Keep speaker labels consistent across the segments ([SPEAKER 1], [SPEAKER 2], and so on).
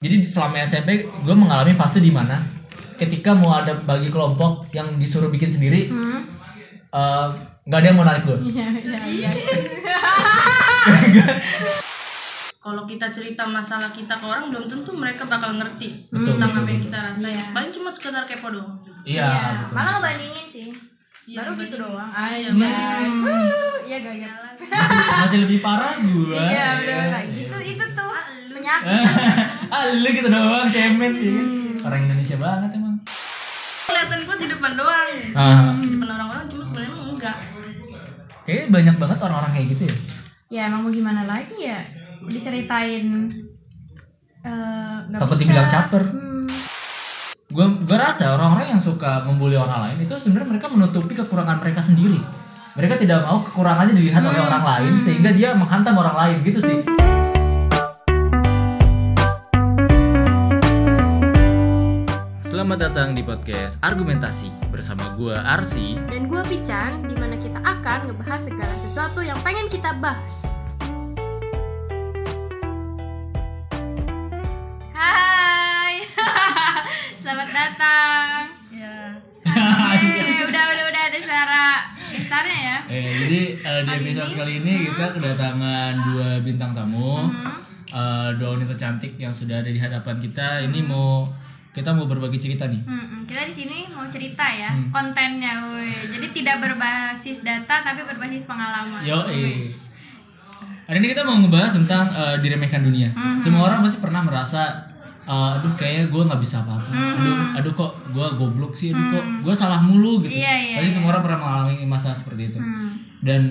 [SPEAKER 1] Jadi selama SMP gue mengalami fase di mana ketika mau ada bagi kelompok yang disuruh bikin sendiri
[SPEAKER 2] Hmm.
[SPEAKER 1] eh, nggak ada yang mau narik gue.
[SPEAKER 2] Iya, iya, iya.
[SPEAKER 3] kalau kita cerita masalah kita ke orang belum tentu mereka bakal ngerti
[SPEAKER 1] Betul,
[SPEAKER 3] tentang
[SPEAKER 1] betul,
[SPEAKER 3] apa yang
[SPEAKER 1] betul.
[SPEAKER 3] kita rasain
[SPEAKER 2] Iya.
[SPEAKER 3] paling cuma sekedar kepo doang
[SPEAKER 1] Iya, betul.
[SPEAKER 2] Malah ngebandingin sih.
[SPEAKER 3] Iya,
[SPEAKER 2] Baru gitu doang. Aja.
[SPEAKER 1] Hmm.
[SPEAKER 2] Iya, gaya.
[SPEAKER 1] Masih, masih lebih parah gue.
[SPEAKER 2] Iya, benar-benar. Gitu itu tuh penyakit.
[SPEAKER 1] ah lu gitu doang cemen ya kan? orang Indonesia banget emang
[SPEAKER 3] kelihatan gue di depan doang
[SPEAKER 1] ah
[SPEAKER 3] di depan orang-orang cuma sebenarnya emang enggak
[SPEAKER 1] kayaknya banyak banget orang-orang kayak gitu ya
[SPEAKER 2] Ya emang mau gimana lagi ya diceritain eh, nggak
[SPEAKER 1] Tak penting
[SPEAKER 2] bisa.
[SPEAKER 1] bilang caper.
[SPEAKER 2] Hmm.
[SPEAKER 1] gue gue rasa orang-orang yang suka membuli orang lain itu sebenarnya mereka menutupi kekurangan mereka sendiri mereka tidak mau kekurangannya dilihat oleh orang lain sehingga dia menghantam orang lain gitu sih Selamat datang di podcast Argumentasi bersama gue Arsi
[SPEAKER 4] dan gue Pican, di mana kita akan ngebahas segala sesuatu yang pengen kita bahas.
[SPEAKER 2] Hai. Selamat datang.
[SPEAKER 3] ya
[SPEAKER 2] Eh, udah udah udah ada suara gestarnya ya.
[SPEAKER 1] Eh, jadi eh, di episode kali ini kita kedatangan dua bintang tamu, Eh, dua wanita cantik yang sudah ada di hadapan kita. Ini mau kita mau berbagi cerita nih.
[SPEAKER 2] Hmm, kita di sini mau cerita ya
[SPEAKER 1] Hmm.
[SPEAKER 2] kontennya, woi. Jadi tidak berbasis data tapi berbasis pengalaman.
[SPEAKER 1] Yo, hari ini kita mau ngebahas tentang eh, diremehkan dunia.
[SPEAKER 2] Mm-hmm.
[SPEAKER 1] Semua orang pasti pernah merasa, eh, aduh kayaknya gue nggak bisa apa-apa. Aduh, aduh kok gue goblok sih. Aduh kok gue salah mulu gitu.
[SPEAKER 2] Mm-hmm. Iya, iya,
[SPEAKER 1] Pasti semua orang pernah mengalami masalah seperti itu.
[SPEAKER 2] Hmm.
[SPEAKER 1] dan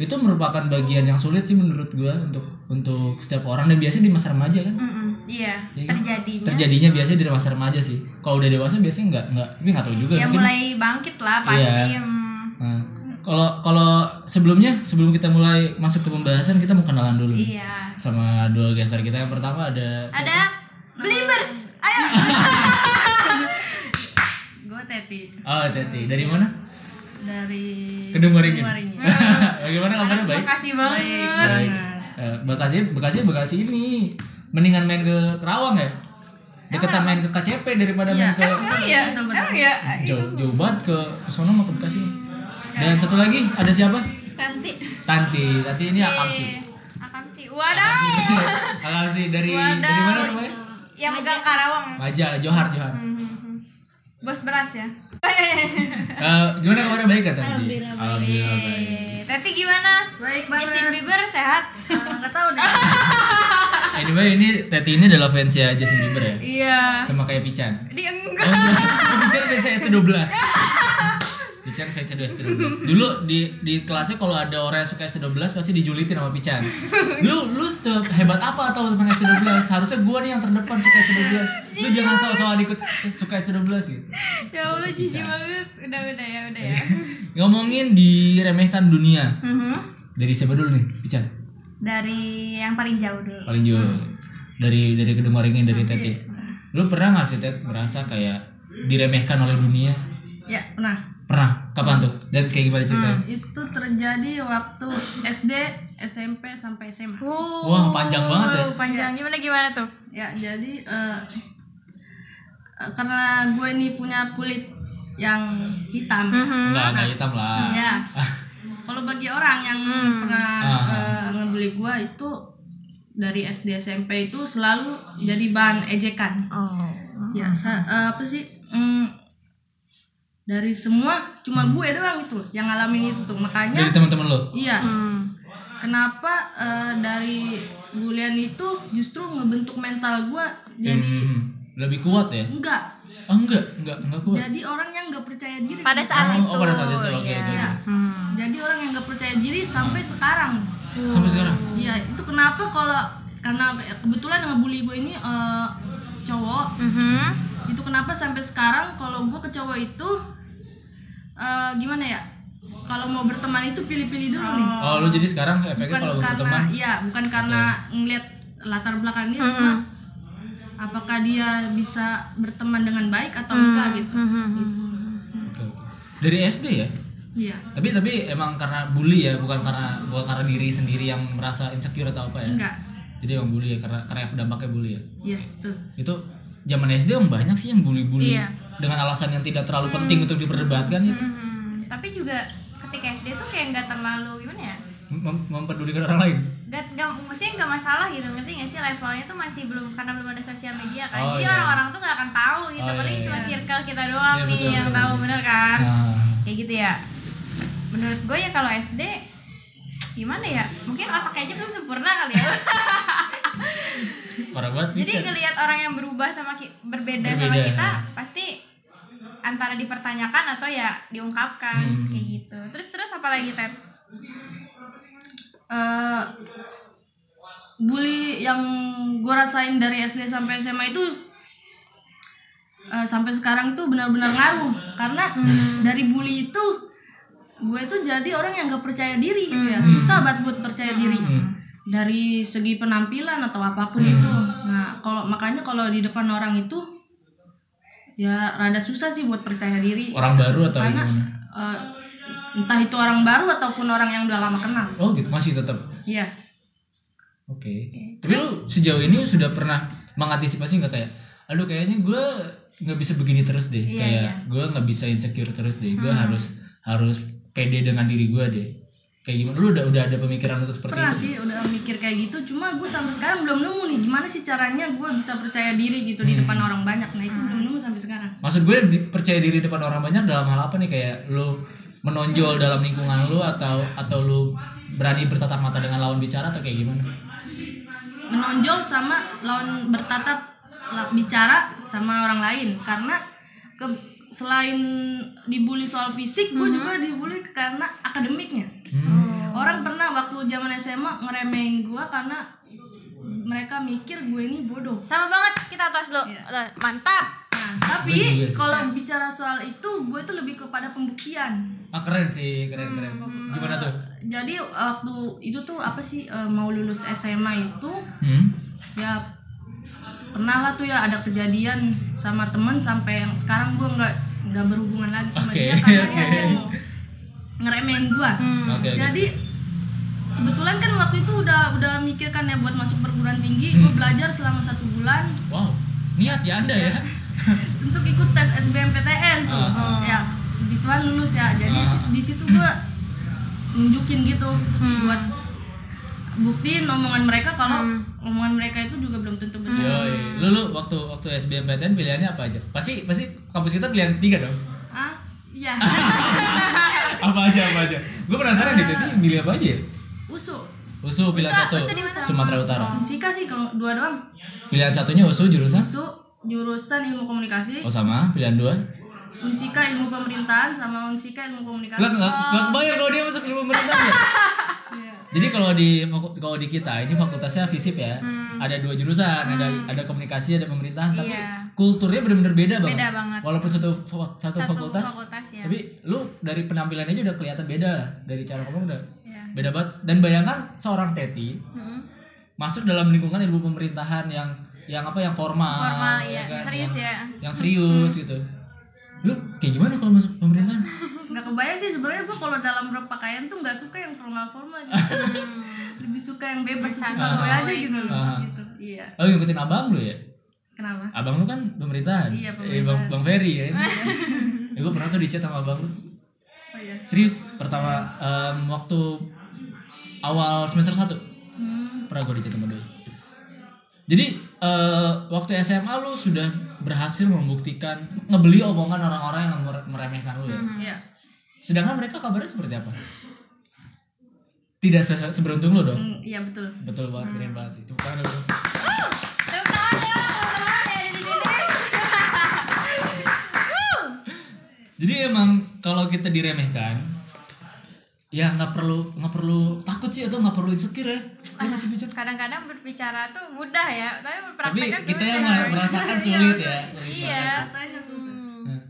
[SPEAKER 1] itu merupakan bagian yang sulit sih menurut gua untuk untuk setiap orang dan biasanya di masa remaja kan
[SPEAKER 2] Mm-mm, iya,
[SPEAKER 1] Iya kan?
[SPEAKER 2] terjadinya.
[SPEAKER 1] terjadinya biasanya di masa remaja sih kalau udah dewasa biasanya nggak nggak tapi nggak tahu juga
[SPEAKER 2] ya
[SPEAKER 1] mungkin
[SPEAKER 2] mulai bangkit lah pasti.
[SPEAKER 1] Iya.
[SPEAKER 2] hmm.
[SPEAKER 1] Nah, kalau kalau sebelumnya sebelum kita mulai masuk ke pembahasan kita mau kenalan dulu nih.
[SPEAKER 2] Iya.
[SPEAKER 1] sama dua gestar kita yang pertama ada
[SPEAKER 2] Ada Believers. Ayo.
[SPEAKER 1] Iya.
[SPEAKER 3] gue Teti
[SPEAKER 1] oh Teti dari mana
[SPEAKER 3] dari
[SPEAKER 1] Kedung Waringin
[SPEAKER 3] Waringin.
[SPEAKER 1] bagaimana kabarnya baik
[SPEAKER 2] Makasih
[SPEAKER 1] Iya.
[SPEAKER 2] banget.
[SPEAKER 1] baik Eh, Bekasi Bekasi Bekasi ini mendingan main ke Kerawang ya deketan main ke KCP daripada main ke
[SPEAKER 2] Emang ya?
[SPEAKER 3] Betul, betul.
[SPEAKER 2] Emang ya?
[SPEAKER 1] jauh jauh banget ke ke sono mau ke Bekasi dan satu lagi ada siapa
[SPEAKER 2] Nanti.
[SPEAKER 1] Tanti Tanti ini
[SPEAKER 2] Iya.
[SPEAKER 1] akam Iya, sih
[SPEAKER 2] Akam sih. Wadah.
[SPEAKER 1] akam sih dari
[SPEAKER 2] Wadaw.
[SPEAKER 1] dari mana namanya
[SPEAKER 2] Yang megang Karawang.
[SPEAKER 1] Maja Johar Johar
[SPEAKER 2] Mhm. Bos beras ya.
[SPEAKER 1] Eh, gimana kabarnya baik gak Tanti alhamdulillah Iya, baik
[SPEAKER 2] Eh, Teti gimana?
[SPEAKER 3] baik
[SPEAKER 2] Justin
[SPEAKER 3] banget
[SPEAKER 2] Bieber sehat?
[SPEAKER 3] Eh, nggak tahu deh
[SPEAKER 1] anyway ini Teti ini adalah fansnya Justin Bieber ya
[SPEAKER 2] Iya.
[SPEAKER 1] sama kayak Pican
[SPEAKER 2] Di
[SPEAKER 1] Oh,
[SPEAKER 2] enggak.
[SPEAKER 1] enggak. Oh, Pican fansnya ST12 Pican fansnya 2 ST12 Dulu di di kelasnya kalau ada orang yang suka ST12 pasti dijulitin sama Pican Lu lu sehebat apa atau tentang ST12 Harusnya gua nih yang terdepan suka ST12 Lu jangan soal-soal ikut eh, suka ST12 gitu
[SPEAKER 2] Ya Allah jijik banget. Udah udah ya udah ya.
[SPEAKER 1] Ngomongin diremehkan dunia
[SPEAKER 2] Mhm.
[SPEAKER 1] Dari siapa dulu nih Pican
[SPEAKER 2] Dari yang paling jauh dulu.
[SPEAKER 1] Paling jauh Dari dari gedung waringin dari Teti Lu pernah gak sih Tet merasa kayak diremehkan oleh dunia
[SPEAKER 3] ya nah
[SPEAKER 1] Pernah? Kapan tuh? Dan kayak gimana ceritanya?
[SPEAKER 3] itu terjadi waktu SD SMP sampai SMA
[SPEAKER 2] Wow.
[SPEAKER 1] Wah panjang banget ya.
[SPEAKER 2] Oh, Panjang gimana gimana tuh?
[SPEAKER 3] ya jadi eh, eh, karena gue ini punya kulit yang hitam
[SPEAKER 2] Mhm.
[SPEAKER 1] Enggak enggak hitam lah.
[SPEAKER 3] ya
[SPEAKER 2] Ah.
[SPEAKER 3] kalau bagi orang yang
[SPEAKER 2] Hmm.
[SPEAKER 3] pernah
[SPEAKER 1] Ah.
[SPEAKER 3] eh, ngebeli gue itu dari SD SMP itu selalu jadi bahan ejekan
[SPEAKER 2] Oh.
[SPEAKER 3] ya sa- eh, apa sih mm, dari semua cuma
[SPEAKER 2] Hmm.
[SPEAKER 3] gue doang itu yang ngalamin itu tuh makanya
[SPEAKER 1] Dari teman-teman lo.
[SPEAKER 3] iya
[SPEAKER 2] Hmm.
[SPEAKER 3] kenapa eh, dari bulian itu justru ngebentuk mental gue jadi
[SPEAKER 1] Hmm, lebih kuat ya?
[SPEAKER 2] Hmm.
[SPEAKER 3] enggak
[SPEAKER 1] Oh, enggak, enggak, enggak kuat.
[SPEAKER 3] jadi orang yang nggak percaya diri
[SPEAKER 2] Pada
[SPEAKER 1] oh,
[SPEAKER 2] saat itu.
[SPEAKER 1] oh, pada saat itu oke oke.
[SPEAKER 3] Iya.
[SPEAKER 1] oke.
[SPEAKER 2] Hmm.
[SPEAKER 3] jadi orang yang nggak percaya diri sampai sekarang
[SPEAKER 1] Sampai sekarang.
[SPEAKER 3] Iya, itu kenapa kalau karena kebetulan yang ngebully gue ini eh, cowok.
[SPEAKER 2] Mhm.
[SPEAKER 3] Itu kenapa sampai sekarang kalau gue ke cowok itu eh, gimana ya? Kalau mau berteman itu pilih-pilih dulu nih.
[SPEAKER 1] Oh, lu jadi sekarang efeknya
[SPEAKER 3] Bukan
[SPEAKER 1] kalau gue
[SPEAKER 3] karena
[SPEAKER 1] berteman
[SPEAKER 3] iya, bukan karena ngelihat latar belakang dia cuma apakah dia bisa berteman dengan baik atau enggak gitu.
[SPEAKER 1] Oke, oke. Dari SD ya?
[SPEAKER 3] Iya.
[SPEAKER 1] Tapi tapi emang karena bully ya, bukan karena bukan karena diri sendiri yang merasa insecure atau apa ya.
[SPEAKER 3] Enggak.
[SPEAKER 1] Jadi emang bully ya karena karena efek dampaknya bully ya.
[SPEAKER 3] Iya, betul.
[SPEAKER 1] Itu zaman SD emang banyak sih yang bully-bully
[SPEAKER 3] Iya. Hmm.
[SPEAKER 1] dengan alasan yang tidak terlalu penting untuk diperdebatkan ya.
[SPEAKER 2] Mhm. Tapi juga ketika SD tuh kayak nggak terlalu gimana ya?
[SPEAKER 1] Mem- mempedulikan orang lain.
[SPEAKER 2] Gak, gak, maksudnya nggak masalah gitu ngerti gak sih levelnya tuh masih belum karena belum ada sosial media kan
[SPEAKER 1] Oh,
[SPEAKER 2] jadi
[SPEAKER 1] iya.
[SPEAKER 2] orang-orang tuh nggak akan tahu gitu
[SPEAKER 1] Oh, iya,
[SPEAKER 2] paling
[SPEAKER 1] iya.
[SPEAKER 2] cuma circle kita doang
[SPEAKER 1] Iya,
[SPEAKER 2] nih
[SPEAKER 1] betul,
[SPEAKER 2] yang
[SPEAKER 1] betul.
[SPEAKER 2] tahu bener kan
[SPEAKER 3] Iya.
[SPEAKER 1] Nah,
[SPEAKER 2] kayak gitu ya menurut gue ya kalau SD gimana ya mungkin otaknya aja belum sempurna kali ya
[SPEAKER 1] parah banget nih,
[SPEAKER 2] jadi
[SPEAKER 1] Chan.
[SPEAKER 2] ngelihat orang yang berubah sama ki- berbeda,
[SPEAKER 1] Iya.
[SPEAKER 2] sama
[SPEAKER 1] Berbeda,
[SPEAKER 2] kita
[SPEAKER 1] ya.
[SPEAKER 2] pasti antara dipertanyakan atau ya diungkapkan
[SPEAKER 1] Hmm.
[SPEAKER 2] kayak gitu terus terus apa lagi Tep?
[SPEAKER 3] Eh, bully yang gue rasain dari SD sampai SMA itu eh, sampai sekarang tuh benar-benar ngaruh karena
[SPEAKER 1] Hmm.
[SPEAKER 3] dari bully itu gue tuh jadi orang yang gak percaya diri gitu ya susah banget buat percaya diri
[SPEAKER 1] Hmm.
[SPEAKER 3] dari segi penampilan atau apapun itu
[SPEAKER 1] Hmm.
[SPEAKER 3] nah kalau makanya kalau di depan orang itu ya rada susah sih buat percaya diri
[SPEAKER 1] Orang baru atau
[SPEAKER 3] karena
[SPEAKER 1] gimana?
[SPEAKER 3] eh, entah itu orang baru ataupun orang yang udah lama kenal
[SPEAKER 1] Oh gitu masih tetap.
[SPEAKER 3] iya
[SPEAKER 1] Oke. Tapi lu sejauh ini sudah pernah mengantisipasi nggak kayak, aduh kayaknya gue nggak bisa begini terus deh, kayak gue nggak bisa insecure terus deh, gue harus harus pede dengan diri gue deh. Kayak gimana? Lu udah udah ada pemikiran untuk seperti
[SPEAKER 3] pernah
[SPEAKER 1] itu?
[SPEAKER 3] sih udah mikir kayak gitu cuma gue sampai sekarang belum nemu nih gimana sih caranya gue bisa percaya diri gitu
[SPEAKER 1] Hmm.
[SPEAKER 3] di depan orang banyak nah itu belum nemu sampai sekarang
[SPEAKER 1] Maksud gue di- percaya diri depan orang banyak dalam hal apa nih kayak lu menonjol dalam lingkungan lu atau atau lu berani bertatap mata dengan lawan bicara atau kayak gimana?
[SPEAKER 3] menonjol sama lawan bertatap la- bicara sama orang lain karena ke- selain dibully soal fisik gue juga dibully karena akademiknya
[SPEAKER 1] Hmm.
[SPEAKER 3] orang pernah waktu zaman SMA ngeremehin gue karena mereka mikir gue ini bodoh
[SPEAKER 4] Sama banget, kita tos dulu. Mantap.
[SPEAKER 3] Nah,
[SPEAKER 1] Gue juga
[SPEAKER 3] tapi
[SPEAKER 1] sih.
[SPEAKER 3] kalau bicara soal itu, gue tuh lebih kepada pembuktian.
[SPEAKER 1] Ah keren sih, keren keren. Gimana tuh?
[SPEAKER 3] Jadi waktu itu tuh apa sih eh, mau lulus SMA itu
[SPEAKER 1] Hmm?
[SPEAKER 3] ya pernah lah tuh ya ada kejadian sama temen sampai yang sekarang gue nggak nggak berhubungan lagi sama
[SPEAKER 1] Oke,
[SPEAKER 3] dia
[SPEAKER 1] oke.
[SPEAKER 3] karena
[SPEAKER 1] Hmm.
[SPEAKER 3] ya dia mau ngeremehin gue.
[SPEAKER 2] Hmm,
[SPEAKER 1] Oke. oke.
[SPEAKER 3] Jadi kebetulan kan waktu itu udah udah mikirkan ya buat masuk perguruan tinggi, gue
[SPEAKER 1] Hmm.
[SPEAKER 3] belajar selama satu bulan
[SPEAKER 1] Wow, niat ya anda ya?
[SPEAKER 3] untuk ikut tes SBMPTN tuh
[SPEAKER 1] Ah.
[SPEAKER 3] ya di Tuhan lulus ya jadi
[SPEAKER 1] Ah.
[SPEAKER 3] di situ gua nunjukin gitu buat buktiin omongan mereka kalau omongan mereka itu juga belum tentu benar
[SPEAKER 1] Yoi. Lu lu waktu waktu SBMPTN pilihannya apa aja? Pasti pasti kampus kita pilihan ketiga dong.
[SPEAKER 3] ah iya
[SPEAKER 1] apa aja apa aja? Gue penasaran deh tadi milih apa aja ya?
[SPEAKER 3] usu
[SPEAKER 1] USU pilihan
[SPEAKER 3] USU-
[SPEAKER 1] satu
[SPEAKER 3] USU di mana?
[SPEAKER 1] Sumatera Utara. Ya.
[SPEAKER 3] Sika sih kalau dua doang
[SPEAKER 1] Pilihan satunya USU jurusan?
[SPEAKER 3] usu jurusan ilmu komunikasi
[SPEAKER 1] Oh sama, pilihan dua.
[SPEAKER 3] unsika ilmu pemerintahan sama unsika ilmu komunikasi
[SPEAKER 1] Lah enggak enggak bayar kalau dia masuk ilmu pemerintah ya. Jadi kalau di faku- kalau di kita ini fakultasnya FISIP ya. Ada dua jurusan, ada ada komunikasi, ada pemerintahan, tapi
[SPEAKER 2] Iya.
[SPEAKER 1] kulturnya benar-benar beda banget.
[SPEAKER 2] Beda banget.
[SPEAKER 1] Walaupun satu fa- satu,
[SPEAKER 2] satu fakultas,
[SPEAKER 1] fakultas,
[SPEAKER 2] ya
[SPEAKER 1] tapi lu dari penampilan aja udah kelihatan beda dari cara ngomong udah
[SPEAKER 2] Iya.
[SPEAKER 1] beda banget dan bayangkan seorang Teti
[SPEAKER 2] Hmm,
[SPEAKER 1] masuk dalam lingkungan ibu pemerintahan yang yang apa yang formal,
[SPEAKER 2] formal ya,
[SPEAKER 1] kan?
[SPEAKER 2] serius Hmm.
[SPEAKER 1] yang,
[SPEAKER 2] ya
[SPEAKER 1] yang serius gitu lu kayak gimana kalau masuk pemerintahan
[SPEAKER 3] nggak kebayang sih sebenarnya gua kalau dalam berpakaian tuh nggak suka yang formal formal gitu. lebih suka yang bebas suka gue aja gitu loh
[SPEAKER 1] Hmm. Ah.
[SPEAKER 3] gitu iya
[SPEAKER 1] oh ngikutin abang lu ya
[SPEAKER 3] kenapa
[SPEAKER 1] abang lu kan pemerintahan
[SPEAKER 3] Iya,
[SPEAKER 1] Eh, bang bang Ferry ya ya gue pernah tuh di chat sama abang lu
[SPEAKER 3] oh iya
[SPEAKER 1] serius pertama em, waktu awal semester 1
[SPEAKER 3] Hmm.
[SPEAKER 1] pernah gue dicat sama doi. jadi eh, waktu SMA lu sudah berhasil membuktikan ngebeli omongan orang-orang yang mere- meremehkan lu ya
[SPEAKER 3] iya
[SPEAKER 1] sedangkan mereka kabarnya seperti apa tidak se- seberuntung lu dong
[SPEAKER 3] Hmm, iya betul
[SPEAKER 1] betul banget keren banget sih tepuk tangan dulu
[SPEAKER 2] tepuk tangan dong tepuk tangan ya di sini
[SPEAKER 1] jadi emang kalau kita diremehkan ya nggak perlu nggak perlu takut sih atau nggak perlu insecure ya dia masih bijak
[SPEAKER 2] kadang-kadang berbicara tuh mudah ya tapi
[SPEAKER 1] tapi
[SPEAKER 2] berprakteknya
[SPEAKER 1] kita
[SPEAKER 2] susah.
[SPEAKER 1] yang merasakan sulit ya sulit
[SPEAKER 2] iya
[SPEAKER 3] rasanya susah
[SPEAKER 1] banget. Nah.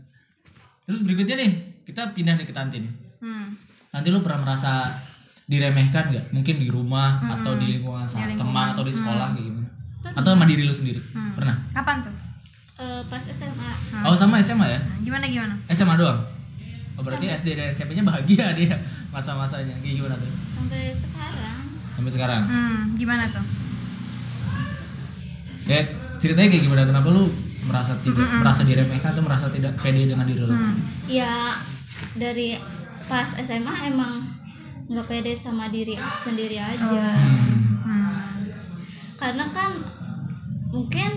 [SPEAKER 1] terus berikutnya nih kita pindah nih ke Tanti nih
[SPEAKER 2] hmm.
[SPEAKER 1] Tanti lu pernah merasa diremehkan nggak mungkin di rumah atau di lingkungan saat teman atau di sekolah kayak gimana atau sama diri lu sendiri pernah
[SPEAKER 2] kapan tuh
[SPEAKER 4] Eh, pas SMA.
[SPEAKER 1] oh sama SMA ya
[SPEAKER 2] Nah, gimana gimana
[SPEAKER 1] SMA doang oh, berarti SD dan SMP nya bahagia dia masa-masanya kayak gimana tuh
[SPEAKER 4] Sampai sekarang.
[SPEAKER 1] sampai sekarang
[SPEAKER 2] hmm, gimana tuh
[SPEAKER 1] kayak ceritanya kayak gimana kenapa lu merasa tidak merasa diremehkan atau merasa tidak pede dengan diri lu Mm.
[SPEAKER 5] ya dari pas SMA emang nggak pede sama diri sendiri
[SPEAKER 1] Oh.
[SPEAKER 5] aja
[SPEAKER 2] Hmm.
[SPEAKER 5] karena kan mungkin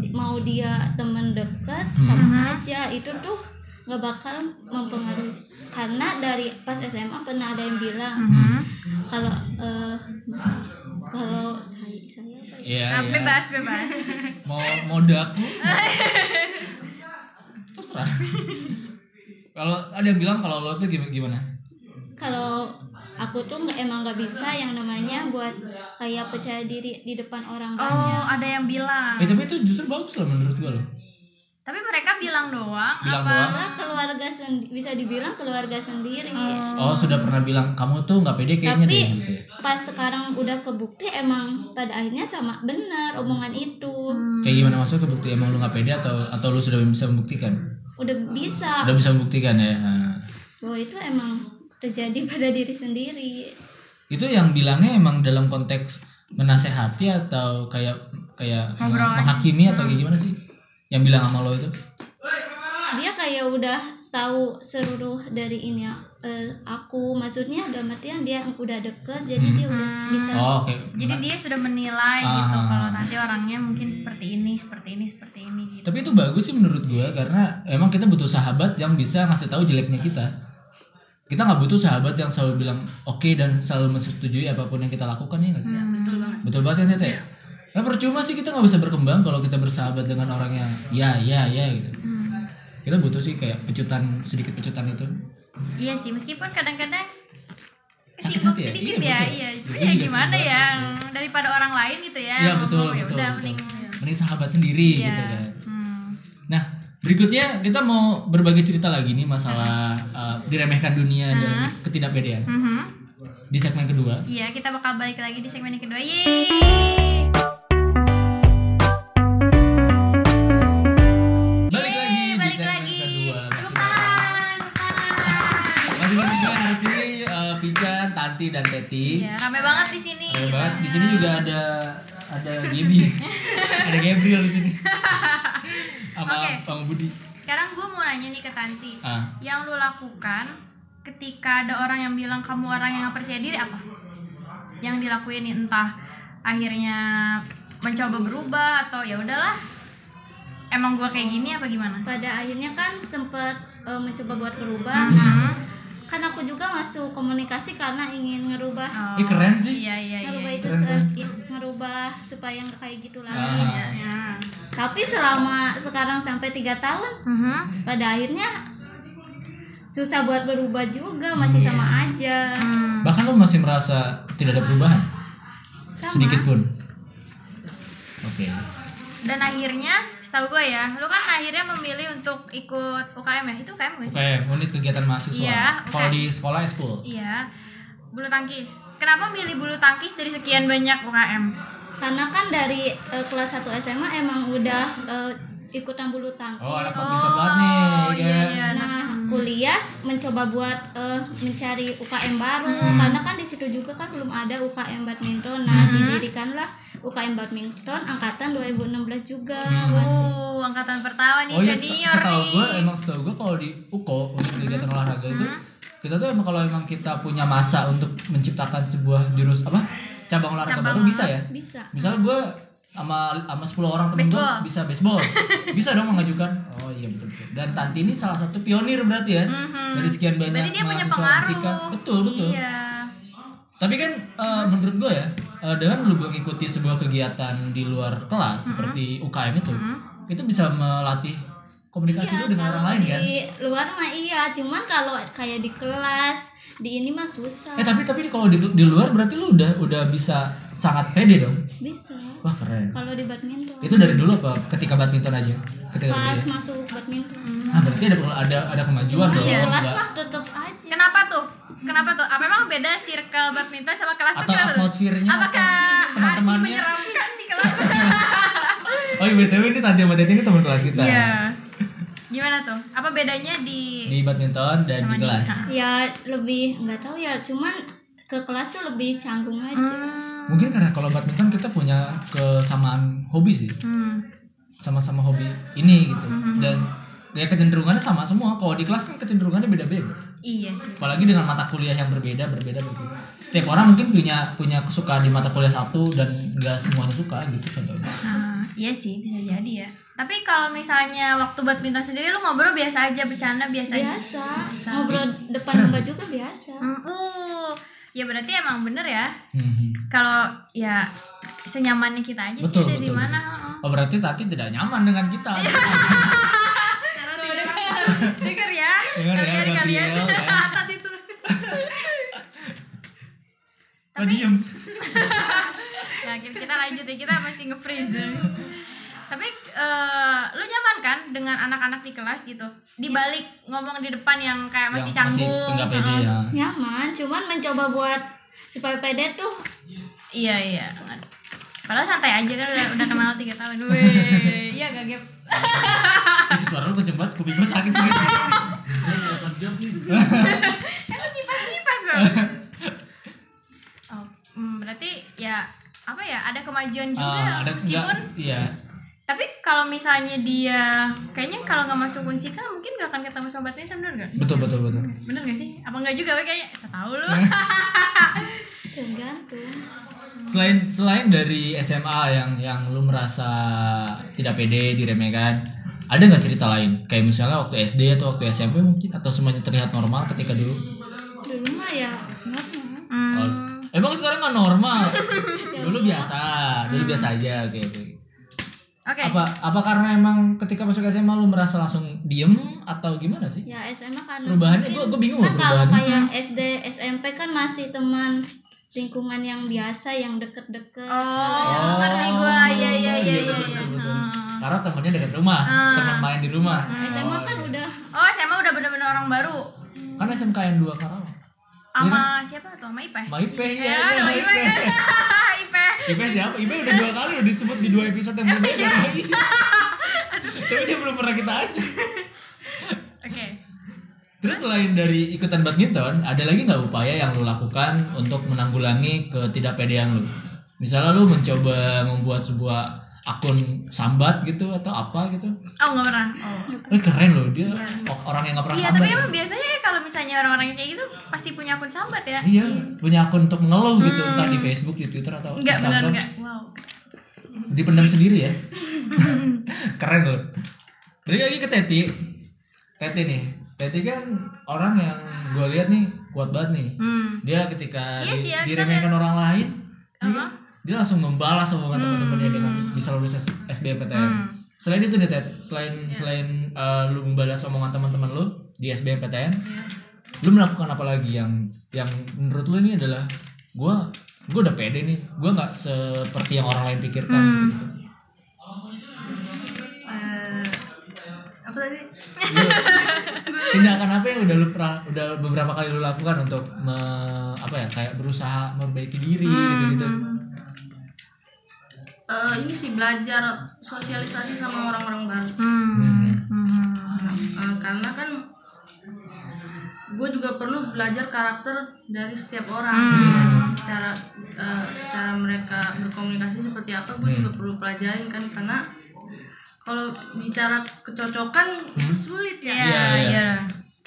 [SPEAKER 5] di- mau dia temen dekat sama aja itu tuh nggak bakal mempengaruhi karena dari pas SMA pernah ada yang
[SPEAKER 1] Hmm.
[SPEAKER 5] bilang
[SPEAKER 1] Mm.
[SPEAKER 5] kalau eh, kalau saya saya apa ya?
[SPEAKER 1] Iya,
[SPEAKER 2] Nah,
[SPEAKER 1] iya.
[SPEAKER 2] bebas bebas
[SPEAKER 1] mau mau daku terserah kalau ada yang bilang kalau lo tuh gimana gimana
[SPEAKER 5] kalau aku tuh nggak- emang nggak bisa yang namanya buat kayak percaya diri di depan orang
[SPEAKER 2] oh
[SPEAKER 5] banyak
[SPEAKER 2] ada yang bilang
[SPEAKER 1] eh tapi itu justru bagus lah menurut gua lo
[SPEAKER 2] tapi mereka bilang doang
[SPEAKER 1] bilang
[SPEAKER 2] apa
[SPEAKER 1] doang
[SPEAKER 5] Karena keluarga sendi- bisa dibilang keluarga sendiri
[SPEAKER 1] oh sudah pernah bilang kamu tuh nggak pede kayaknya
[SPEAKER 5] Tapi-
[SPEAKER 1] deh gitu ya
[SPEAKER 5] pas sekarang udah kebukti emang pada akhirnya sama benar omongan itu
[SPEAKER 1] kayak gimana maksudnya kebukti emang lu nggak pede atau atau lu sudah bisa membuktikan
[SPEAKER 5] udah bisa
[SPEAKER 1] udah bisa membuktikan ya Nah,
[SPEAKER 5] bahwa itu emang terjadi pada diri sendiri
[SPEAKER 1] itu yang bilangnya emang dalam konteks menasehati atau kayak kayak
[SPEAKER 2] Ngobrol aja.
[SPEAKER 1] menghakimi atau kayak gimana sih yang bilang sama lo itu
[SPEAKER 5] dia kayak udah tahu seluruh dari ini ya eh, aku maksudnya dalam artian dia udah deket jadi dia udah bisa
[SPEAKER 1] oh oke
[SPEAKER 2] jadi dia sudah menilai
[SPEAKER 1] Ah.
[SPEAKER 2] gitu kalau nanti orangnya mungkin seperti ini seperti ini seperti ini gitu
[SPEAKER 1] Tapi itu bagus sih menurut gue karena emang kita butuh sahabat yang bisa ngasih tahu jeleknya kita. Kita nggak butuh sahabat yang selalu bilang oke dan selalu menyetujui apapun yang kita lakukan ya nggak sih?
[SPEAKER 3] Hmm, betul banget
[SPEAKER 1] Betul banget ya Tete? Nah, percuma sih kita nggak bisa berkembang kalau kita bersahabat dengan orang yang ya ya ya gitu. Kita butuh sih kayak pecutan sedikit pecutan itu.
[SPEAKER 2] iya sih meskipun kadang-kadang kesinggung
[SPEAKER 1] hati ya?
[SPEAKER 2] sedikit
[SPEAKER 1] Iya,
[SPEAKER 2] ya
[SPEAKER 1] betul.
[SPEAKER 2] iya
[SPEAKER 1] Gue
[SPEAKER 2] cuma ya
[SPEAKER 1] juga
[SPEAKER 2] gimana
[SPEAKER 1] sering
[SPEAKER 2] ya daripada orang lain gitu ya
[SPEAKER 1] Iya
[SPEAKER 2] ngomong,
[SPEAKER 1] betul
[SPEAKER 2] ya
[SPEAKER 1] betul.
[SPEAKER 2] udah
[SPEAKER 1] betul.
[SPEAKER 2] mending
[SPEAKER 1] Mending sahabat sendiri
[SPEAKER 2] Iya.
[SPEAKER 1] gitu kan.
[SPEAKER 2] hmm.
[SPEAKER 1] Nah, berikutnya kita mau berbagi cerita lagi nih masalah uh, diremehkan dunia dan ketidakpedean
[SPEAKER 2] Mhm.
[SPEAKER 1] di segmen kedua.
[SPEAKER 2] Iya, kita bakal balik lagi di segmen yang kedua. Yeay.
[SPEAKER 1] balik lagi
[SPEAKER 2] Yeay,
[SPEAKER 1] di
[SPEAKER 2] balik
[SPEAKER 1] segmen
[SPEAKER 2] lagi.
[SPEAKER 1] kedua Masih
[SPEAKER 2] Bukan, bukan.
[SPEAKER 1] ber- masih bertiga di sini eh, Pican, Tanti dan Teti
[SPEAKER 2] Ya, rame banget di sini.
[SPEAKER 1] Keren
[SPEAKER 2] gitu.
[SPEAKER 1] banget di sini juga ada ada Gaby ada Gabriel di sini sama
[SPEAKER 2] Oke.
[SPEAKER 1] Bang Budi
[SPEAKER 2] Sekarang gue mau nanya nih ke Tanti.
[SPEAKER 1] ah
[SPEAKER 2] Yang lu lakukan ketika ada orang yang bilang kamu orang yang gak percaya diri apa? Yang dilakuin nih, entah akhirnya mencoba berubah atau ya udahlah. Emang gua kayak gini apa gimana?
[SPEAKER 5] pada akhirnya kan sempat eh, mencoba buat berubah nah
[SPEAKER 2] Mhm.
[SPEAKER 5] kan aku juga masuk komunikasi karena ingin ngerubah
[SPEAKER 2] Oh,
[SPEAKER 1] Ih, keren sih.
[SPEAKER 2] Iya, iya, iya.
[SPEAKER 5] ngerubah
[SPEAKER 2] iya.
[SPEAKER 5] itu
[SPEAKER 1] Keren,
[SPEAKER 5] se- ya, ngerubah supaya nggak kayak gitu lagi
[SPEAKER 1] Ah.
[SPEAKER 2] Ya.
[SPEAKER 5] tapi selama sekarang sampai tiga tahun
[SPEAKER 2] Mhm.
[SPEAKER 5] pada akhirnya susah buat berubah juga masih sama aja
[SPEAKER 2] Iya. Hmm.
[SPEAKER 1] bahkan lo masih merasa tidak ada perubahan
[SPEAKER 5] sama
[SPEAKER 1] sedikit pun oke
[SPEAKER 2] dan akhirnya setahu gue ya lu kan akhirnya memilih untuk ikut UKM ya itu UKM gak sih?
[SPEAKER 1] oke unit kegiatan mahasiswa
[SPEAKER 2] Iya,
[SPEAKER 1] kalau
[SPEAKER 2] oke.
[SPEAKER 1] di sekolah school
[SPEAKER 2] iya bulu tangkis kenapa milih bulu tangkis dari sekian banyak UKM?
[SPEAKER 5] karena kan dari eh, kelas 1 SMA emang udah eh, ikutan bulu tangkis
[SPEAKER 1] oh anak komputer banget nih
[SPEAKER 2] iya
[SPEAKER 1] kan?
[SPEAKER 2] iya nah,
[SPEAKER 5] nah kuliah mencoba buat eh, mencari UKM baru
[SPEAKER 2] Hmm.
[SPEAKER 5] karena kan di situ juga kan belum ada UKM badminton nah didirikanlah UKM badminton angkatan 2016 juga masih
[SPEAKER 2] uh angkatan pertama nih
[SPEAKER 1] Oh iya,
[SPEAKER 2] senior
[SPEAKER 1] setahu
[SPEAKER 2] nih Mm-hmm,
[SPEAKER 1] gue emang setahu gue kalau di UKO untuk kegiatan olahraga itu kita tuh emang kalau emang kita punya masa untuk menciptakan sebuah jurus apa cabang olahraga
[SPEAKER 2] Cabang
[SPEAKER 1] baru bisa ya.
[SPEAKER 5] bisa
[SPEAKER 1] Misal gue sama sama 10 orang temen gue
[SPEAKER 2] Baseball.
[SPEAKER 1] bisa baseball, bisa dong mengajukan. Oh iya betul, betul. Dan Tanti ini salah satu pionir berarti ya
[SPEAKER 2] Mhm.
[SPEAKER 1] dari sekian banyak
[SPEAKER 2] berarti dia punya
[SPEAKER 1] mahasiswa fisika.
[SPEAKER 2] pengaruh
[SPEAKER 1] Betul betul.
[SPEAKER 2] iya
[SPEAKER 1] Tapi kan eh, menurut gue ya eh, dengan lu mengikuti sebuah kegiatan di luar kelas
[SPEAKER 2] Mhm.
[SPEAKER 1] seperti UKM itu, itu bisa melatih
[SPEAKER 2] Iya,
[SPEAKER 1] komunikasi lu dengan orang lain kan?
[SPEAKER 5] di luar mah iya cuman kalau kayak di kelas di ini mah susah
[SPEAKER 1] Eh tapi tapi kalau di, di luar berarti lu udah udah bisa sangat pede dong.
[SPEAKER 5] bisa
[SPEAKER 1] Wah keren.
[SPEAKER 5] kalau di badminton
[SPEAKER 1] Itu dari dulu apa ketika badminton aja? Ketika
[SPEAKER 5] pas
[SPEAKER 1] kuliah?
[SPEAKER 5] masuk badminton
[SPEAKER 1] Ah berarti ada ada ada kemajuan
[SPEAKER 2] Iya,
[SPEAKER 1] dong.
[SPEAKER 5] Di kelas
[SPEAKER 1] Nggak-
[SPEAKER 5] mah tetep aja
[SPEAKER 2] kenapa tuh kenapa tuh apa emang beda circle badminton sama kelas tuh
[SPEAKER 1] atau
[SPEAKER 2] kenapa tuh
[SPEAKER 1] atmosfernya
[SPEAKER 2] apakah aksi
[SPEAKER 1] teman-temannya?
[SPEAKER 2] menyeramkan di kelas
[SPEAKER 1] Oh iya btw ini Tanti sama Teti ini teman kelas kita.
[SPEAKER 2] Iya. Gimana tuh? Apa bedanya di
[SPEAKER 1] Di badminton dan
[SPEAKER 2] sama
[SPEAKER 1] di kelas.
[SPEAKER 2] nikah?
[SPEAKER 5] ya lebih nggak tahu ya cuman ke kelas tuh lebih canggung aja
[SPEAKER 2] Hmm,
[SPEAKER 1] Mungkin karena kalau badminton kita punya kesamaan hobi sih,
[SPEAKER 2] Hmm.
[SPEAKER 1] sama-sama hobi ini gitu.
[SPEAKER 2] Mm-hmm.
[SPEAKER 1] Dan ya kecenderungannya sama semua. Kalau di kelas kan kecenderungannya beda-beda.
[SPEAKER 2] Iya sih.
[SPEAKER 1] Apalagi dengan mata kuliah yang berbeda, berbeda, berbeda. Setiap orang mungkin punya punya kesukaan di mata kuliah satu dan enggak semuanya suka gitu contohnya.
[SPEAKER 2] Nah, iya sih bisa jadi ya. Tapi kalau misalnya waktu badminton sendiri lu ngobrol biasa aja, bercanda biasa aja.
[SPEAKER 5] biasa ngobrol depan muka juga biasa
[SPEAKER 2] Hmm, uh, ya berarti emang bener ya.
[SPEAKER 1] Mhm.
[SPEAKER 2] Kalau ya senyamannya kita aja
[SPEAKER 1] Betul,
[SPEAKER 2] sih dari
[SPEAKER 1] betul,
[SPEAKER 2] mana. Iya,
[SPEAKER 1] Oh berarti Tati tidak nyaman dengan kita.
[SPEAKER 2] ya. Dengar ya.
[SPEAKER 1] Dengar ya,
[SPEAKER 2] Kalian kalian.
[SPEAKER 1] Gabriel, ya.
[SPEAKER 2] itu.
[SPEAKER 1] Oh, diem.
[SPEAKER 2] Ya, kita, kita lanjut ya, kita masih nge-freeze. Tapi eh, lu nyaman kan dengan anak-anak di kelas gitu? Dibalik ngomong di depan yang kayak masih
[SPEAKER 1] Yang
[SPEAKER 2] canggung.
[SPEAKER 1] enggak Ya, pede
[SPEAKER 2] heeh.
[SPEAKER 1] ya.
[SPEAKER 5] nyaman cuman mencoba buat supaya pede tuh
[SPEAKER 2] Iya iya. Padahal santai aja kan udah, udah kenal tiga tahun. Weh, iya gak Gep?
[SPEAKER 1] Ih, Suara lu kecembat, kuping gue sakit Ah, sih.
[SPEAKER 2] Kan lu kipas kipas dong. Oh, hmm, berarti ya apa ya ada kemajuan juga
[SPEAKER 1] Ah, ada
[SPEAKER 2] meskipun
[SPEAKER 1] enggak- Iya.
[SPEAKER 2] tapi kalau misalnya dia kayaknya kalau nggak masuk unsika mungkin nggak akan ketemu sobat badminton bener gak?
[SPEAKER 1] Betul betul betul.
[SPEAKER 2] Bener gak sih? Apa enggak juga weh kayaknya? Saya tahu lu.
[SPEAKER 5] tergantung
[SPEAKER 1] Selain selain dari SMA yang yang lu merasa tidak pede diremehkan, ada nggak cerita lain? Kayak misalnya waktu SD atau waktu SMP mungkin atau semuanya terlihat normal ketika dulu?
[SPEAKER 5] dulu mah ya normal
[SPEAKER 2] Hmm,
[SPEAKER 1] Oh, Emang sekarang nggak normal? dulu biasa, dulu biasa aja kayak gitu.
[SPEAKER 2] Oke.
[SPEAKER 1] Apa apa karena emang ketika masuk SMA lu merasa langsung diem atau gimana sih?
[SPEAKER 5] ya SMA karena
[SPEAKER 1] Perubahannya
[SPEAKER 5] mungkin-
[SPEAKER 1] gue gue bingung
[SPEAKER 5] kan
[SPEAKER 1] loh
[SPEAKER 5] kalau
[SPEAKER 1] perubahannya.
[SPEAKER 5] kayak SD SMP kan masih teman lingkungan yang biasa yang deket-deket
[SPEAKER 2] Oh,
[SPEAKER 1] Oh,
[SPEAKER 5] Kalau
[SPEAKER 2] ngerti gua. Iya iya iya iya.
[SPEAKER 1] betul,
[SPEAKER 2] iya. Hmm.
[SPEAKER 1] betul, betul. Karena temennya dekat rumah, temen main di rumah.
[SPEAKER 5] SMA kan udah
[SPEAKER 2] Oh, SMA udah bener-bener orang baru. Hmm.
[SPEAKER 1] Kan SMKN 2 Karawang.
[SPEAKER 2] Sama siapa tuh? Sama Ipeh.
[SPEAKER 1] Sama Ipe ya,
[SPEAKER 2] Ya,
[SPEAKER 1] sama
[SPEAKER 2] sama Ipeh.
[SPEAKER 1] Ipe.
[SPEAKER 2] Ipeh.
[SPEAKER 1] Ipe siapa? Ipe udah dua kali udah disebut di dua episode yang berbeda. Tapi dia belum pernah kita ajak.
[SPEAKER 2] Oke.
[SPEAKER 1] Terus selain dari ikutan badminton, ada lagi nggak upaya yang lo lakukan untuk menanggulangi ketidakpedean lo? Misalnya lo mencoba membuat sebuah akun sambat gitu atau apa gitu?
[SPEAKER 2] Oh, nggak pernah. Oh.
[SPEAKER 1] Eh keren loh dia orang yang nggak pernah
[SPEAKER 2] Iya,
[SPEAKER 1] sambat. ya.
[SPEAKER 2] tapi emang biasanya kalau misalnya orang-orang kayak gitu pasti punya akun sambat ya.
[SPEAKER 1] Iya, punya akun untuk mengeluh gitu, entah di Facebook, di Twitter atau
[SPEAKER 2] Enggak Hmm. benar
[SPEAKER 1] Instagram.
[SPEAKER 2] enggak. Wow.
[SPEAKER 1] Dipendam sendiri ya. Keren loh. Balik lagi ke Teti. Teti nih. Teti kan orang yang gue lihat nih kuat banget nih.
[SPEAKER 2] Hmm.
[SPEAKER 1] Dia ketika
[SPEAKER 2] Iya
[SPEAKER 1] di,
[SPEAKER 2] sih ya, kita
[SPEAKER 1] diremehkan orang lain, dia-
[SPEAKER 2] Apa?
[SPEAKER 1] dia langsung membalas omongan teman-temannya dengan
[SPEAKER 2] Hmm.
[SPEAKER 1] bisa lulus S- SBMPTN. Selain itu nih Tet, selain
[SPEAKER 2] Iya.
[SPEAKER 1] selain eh, lu membalas omongan teman-teman lu di SBMPTN,
[SPEAKER 2] Iya.
[SPEAKER 1] lu melakukan apa lagi yang yang menurut lu ini adalah gua gua udah pede nih, gua nggak seperti yang orang lain pikirkan.
[SPEAKER 2] Hmm.
[SPEAKER 1] gitu.
[SPEAKER 3] Eh,
[SPEAKER 2] Apa tadi?
[SPEAKER 1] Lu- tindakan apa yang udah lu pernah udah beberapa kali lu lakukan untuk me- apa ya kayak berusaha memperbaiki diri
[SPEAKER 2] Hmm,
[SPEAKER 1] gitu-gitu.
[SPEAKER 3] Eh, ini sih belajar sosialisasi sama orang-orang baru
[SPEAKER 2] Hmm.
[SPEAKER 3] Eh, karena kan gue juga perlu belajar karakter dari setiap orang Gitu ya. cara eh, cara mereka berkomunikasi seperti apa gue juga perlu pelajarin kan karena kalau bicara kecocokan itu sulit ya
[SPEAKER 2] Iya, iya.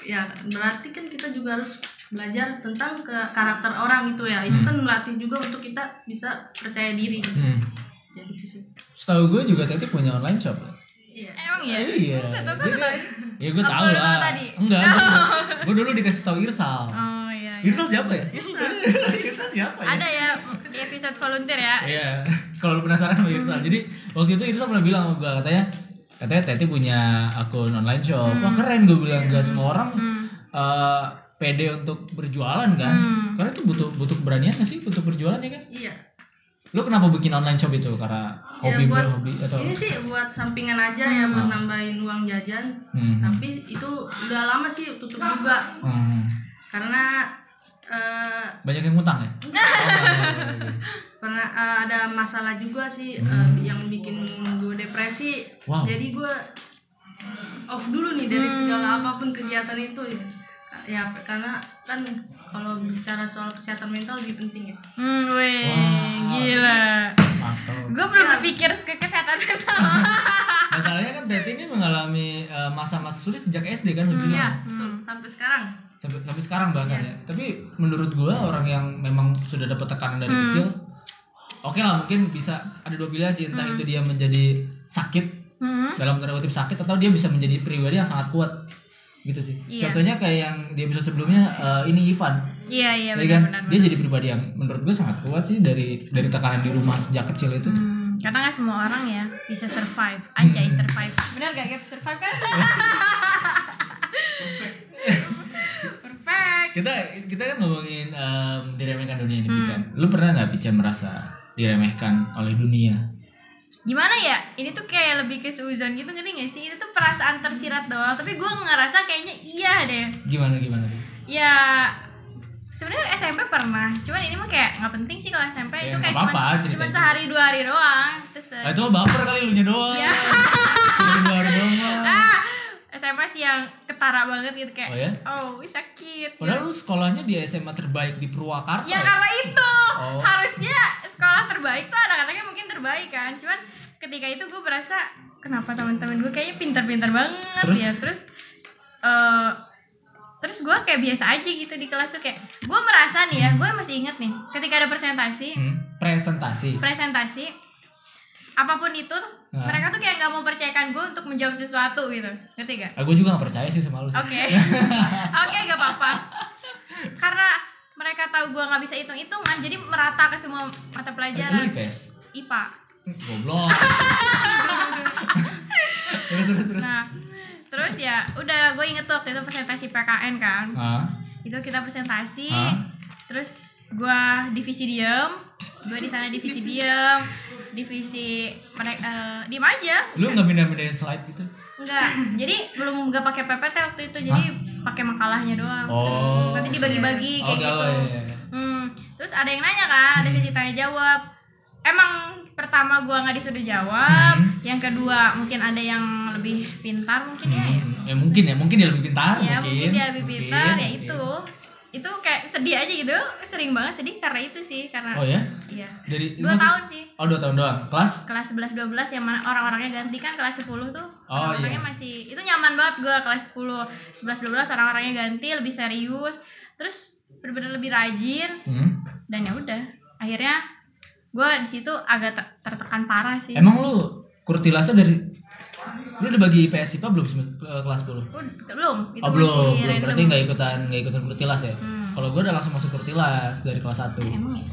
[SPEAKER 3] ya berarti kan kita juga harus belajar tentang ke karakter orang gitu ya itu kan melatih juga untuk kita bisa percaya diri gitu.
[SPEAKER 1] Hmm.
[SPEAKER 3] jadi itu sih
[SPEAKER 1] Setahu gue juga Teti punya online shop.
[SPEAKER 3] iya
[SPEAKER 2] Emang ya?
[SPEAKER 1] Iya. Jadi, ya gue
[SPEAKER 2] Apa
[SPEAKER 1] tahu
[SPEAKER 2] lu tahu
[SPEAKER 1] lah.
[SPEAKER 2] tadi?
[SPEAKER 1] Enggak. gue dulu dikasih tahu Irsal.
[SPEAKER 2] Oh iya. iya.
[SPEAKER 1] Irsal siapa ya? Irsal siapa ya?
[SPEAKER 2] Ada ya di episode volunteer ya.
[SPEAKER 1] Iya. Kalau lu penasaran sama Irsal.
[SPEAKER 3] Hmm.
[SPEAKER 1] Jadi waktu itu Irsal pernah bilang sama gue katanya katanya Teti punya akun online shop.
[SPEAKER 3] Hmm.
[SPEAKER 1] Wah keren gue bilang
[SPEAKER 3] Iya.
[SPEAKER 1] gak semua orang eh, pede untuk berjualan kan.
[SPEAKER 3] Hmm.
[SPEAKER 1] Karena itu butuh butuh keberanian gak sih untuk berjualan ya kan?
[SPEAKER 3] iya
[SPEAKER 1] Lu kenapa bikin online shop itu? Karena hobi
[SPEAKER 3] Ya, buat-
[SPEAKER 1] hobi atau
[SPEAKER 3] ini sih buat sampingan aja ya buat nambahin uang jajan
[SPEAKER 1] Hmm.
[SPEAKER 3] tapi itu udah lama sih tutup juga
[SPEAKER 1] Hmm.
[SPEAKER 3] karena eh,
[SPEAKER 1] banyak yang ngutang ya? iya,
[SPEAKER 3] pernah eh, ada masalah juga sih eh, yang bikin gue depresi
[SPEAKER 1] Wow.
[SPEAKER 2] Hmm.
[SPEAKER 3] jadi gue off dulu nih dari segala apapun kegiatan itu ya. ya karena kan kalau bicara soal kesehatan mental lebih penting ya
[SPEAKER 2] Hmm, weh,
[SPEAKER 1] Wah.
[SPEAKER 2] gila.
[SPEAKER 1] Mantap.
[SPEAKER 2] Gue belum berpikir ke kesehatan mental.
[SPEAKER 1] Masalahnya kan Teti ini mengalami eh, masa-masa sulit sejak SD kan Bibi?
[SPEAKER 2] Hmm.
[SPEAKER 3] iya betul sampai sekarang
[SPEAKER 1] sampai, sampai sekarang bahkan
[SPEAKER 2] Iya.
[SPEAKER 1] ya. Tapi menurut gua orang yang memang sudah dapat tekanan
[SPEAKER 2] Hmm.
[SPEAKER 1] dari kecil, oke lah mungkin bisa ada dua pilihan sih entah itu dia menjadi sakit
[SPEAKER 2] Hmm.
[SPEAKER 1] dalam tanda kutip sakit atau dia bisa menjadi pribadi yang sangat kuat gitu sih.
[SPEAKER 2] Iya.
[SPEAKER 1] Contohnya kayak yang di episode sebelumnya eh, ini Ivan,
[SPEAKER 2] Iya, iya
[SPEAKER 1] ya kan?
[SPEAKER 2] benar-benar.
[SPEAKER 1] Dia jadi pribadi yang menurut gue sangat kuat sih dari dari tekanan di rumah sejak kecil itu.
[SPEAKER 2] Hmm, karena nggak semua orang ya bisa survive. Anjay survive. Bener gak guys survive kan? Perfect.
[SPEAKER 1] Kita kita kan ngomongin em, diremehkan dunia
[SPEAKER 2] Hmm.
[SPEAKER 1] ini, Pican. Lu pernah nggak Pican merasa diremehkan oleh dunia?
[SPEAKER 2] Gimana ya? Ini tuh kayak lebih ke suzon gitu ngerti gak sih? Itu tuh perasaan tersirat doang. Tapi gue ngerasa kayaknya iya deh.
[SPEAKER 1] Gimana gimana? Pi?
[SPEAKER 2] Ya sebenarnya SMP pernah. Cuman ini mah kayak nggak penting sih kalau SMP
[SPEAKER 1] Ya,
[SPEAKER 2] itu
[SPEAKER 1] nggak
[SPEAKER 2] kayak cuman,
[SPEAKER 1] apa-apa, cerita
[SPEAKER 2] cuman
[SPEAKER 1] aja.
[SPEAKER 2] sehari dua hari doang. Terus eh,
[SPEAKER 1] Ah, itu mah baper kali lu nya doang.
[SPEAKER 2] Ya.
[SPEAKER 1] Lu doang doang. mah.
[SPEAKER 2] ah, SMA sih yang ketara banget gitu kayak.
[SPEAKER 1] Oh ya?
[SPEAKER 2] Oh, sakit.
[SPEAKER 1] Padahal lu sekolahnya di SMA terbaik di Purwakarta.
[SPEAKER 2] Ya karena itu
[SPEAKER 1] Oh.
[SPEAKER 2] harusnya sekolah terbaik tuh anak-anaknya mungkin terbaik kan. Cuman ketika itu gue berasa kenapa teman-teman gue kayaknya pintar-pintar banget
[SPEAKER 1] Terus?
[SPEAKER 2] ya. Terus eh terus gue kayak biasa aja gitu di kelas tuh kayak gue merasa nih ya gue masih inget nih ketika ada presentasi
[SPEAKER 1] Hmm, presentasi.
[SPEAKER 2] presentasi apapun itu
[SPEAKER 1] Nah.
[SPEAKER 2] mereka tuh kayak nggak mau percayakan gue untuk menjawab sesuatu gitu ngerti gak?
[SPEAKER 1] Ah, gue juga gak percaya sih sama lu. sih.
[SPEAKER 2] Oke, oke gak apa-apa. Karena mereka tahu gua nggak bisa hitung-hitungan, jadi merata ke semua mata
[SPEAKER 1] Eh, Lu
[SPEAKER 2] pelajaran
[SPEAKER 1] IPS.
[SPEAKER 2] IPA.
[SPEAKER 1] Hmm, Goblok. terus terus terus.
[SPEAKER 2] Nah, terus ya udah gue inget tuh waktu itu presentasi PKN kan.
[SPEAKER 1] Ah,
[SPEAKER 2] Itu kita presentasi,
[SPEAKER 1] Hah?
[SPEAKER 2] terus gua divisi diem, gue di sana divisi diem, divisi mereka diem aja.
[SPEAKER 1] lu nggak pindah-pindahin slide gitu?
[SPEAKER 2] Enggak, jadi belum gak pakai PPT waktu itu, jadi pakai makalahnya doang.
[SPEAKER 1] Oh.
[SPEAKER 2] Nanti dibagi-bagi kayak
[SPEAKER 1] Oke,
[SPEAKER 2] gitu.
[SPEAKER 1] oh, iya, iya.
[SPEAKER 2] Hmm, terus ada yang nanya kan, ada
[SPEAKER 1] Hmm.
[SPEAKER 2] sesi tanya jawab. Emang pertama gua nggak disuruh jawab,
[SPEAKER 1] Hmm.
[SPEAKER 2] yang kedua mungkin ada yang lebih pintar mungkin ya.
[SPEAKER 1] Hmm, ya mungkin ya, mungkin dia lebih pintar
[SPEAKER 2] Ya mungkin dia lebih
[SPEAKER 1] Mungkin,
[SPEAKER 2] pintar ya
[SPEAKER 1] mungkin.
[SPEAKER 2] itu. Itu kayak sedih aja gitu, sering banget sedih karena itu sih karena
[SPEAKER 1] Oh ya?
[SPEAKER 2] iya.
[SPEAKER 1] Dari
[SPEAKER 2] Dua
[SPEAKER 1] masih-
[SPEAKER 2] tahun sih.
[SPEAKER 1] Oh, dua tahun doang. Kelas
[SPEAKER 2] Kelas 11 12 yang mana orang-orangnya ganti kan kelas 10 tuh.
[SPEAKER 1] Oh, iya.
[SPEAKER 2] orang-orangnya masih itu nyaman banget gua kelas 10. 11 12 orang-orangnya ganti lebih serius. Terus bener-bener lebih rajin.
[SPEAKER 1] Hmm.
[SPEAKER 2] dan ya udah akhirnya gue di situ agak te- tertekan parah sih
[SPEAKER 1] Emang lu kurtilase dari lu udah bagi IPS IPA belum sem- ke- kelas 10?
[SPEAKER 2] Ud- belum itu
[SPEAKER 1] oh, belum, belum.
[SPEAKER 2] Gitu, masih random.
[SPEAKER 1] Berarti nggak ikutan nggak ikutan kurtilas ya?
[SPEAKER 2] Hmm.
[SPEAKER 1] Kalau gua udah langsung masuk kurtilas dari kelas 1.
[SPEAKER 2] emang ya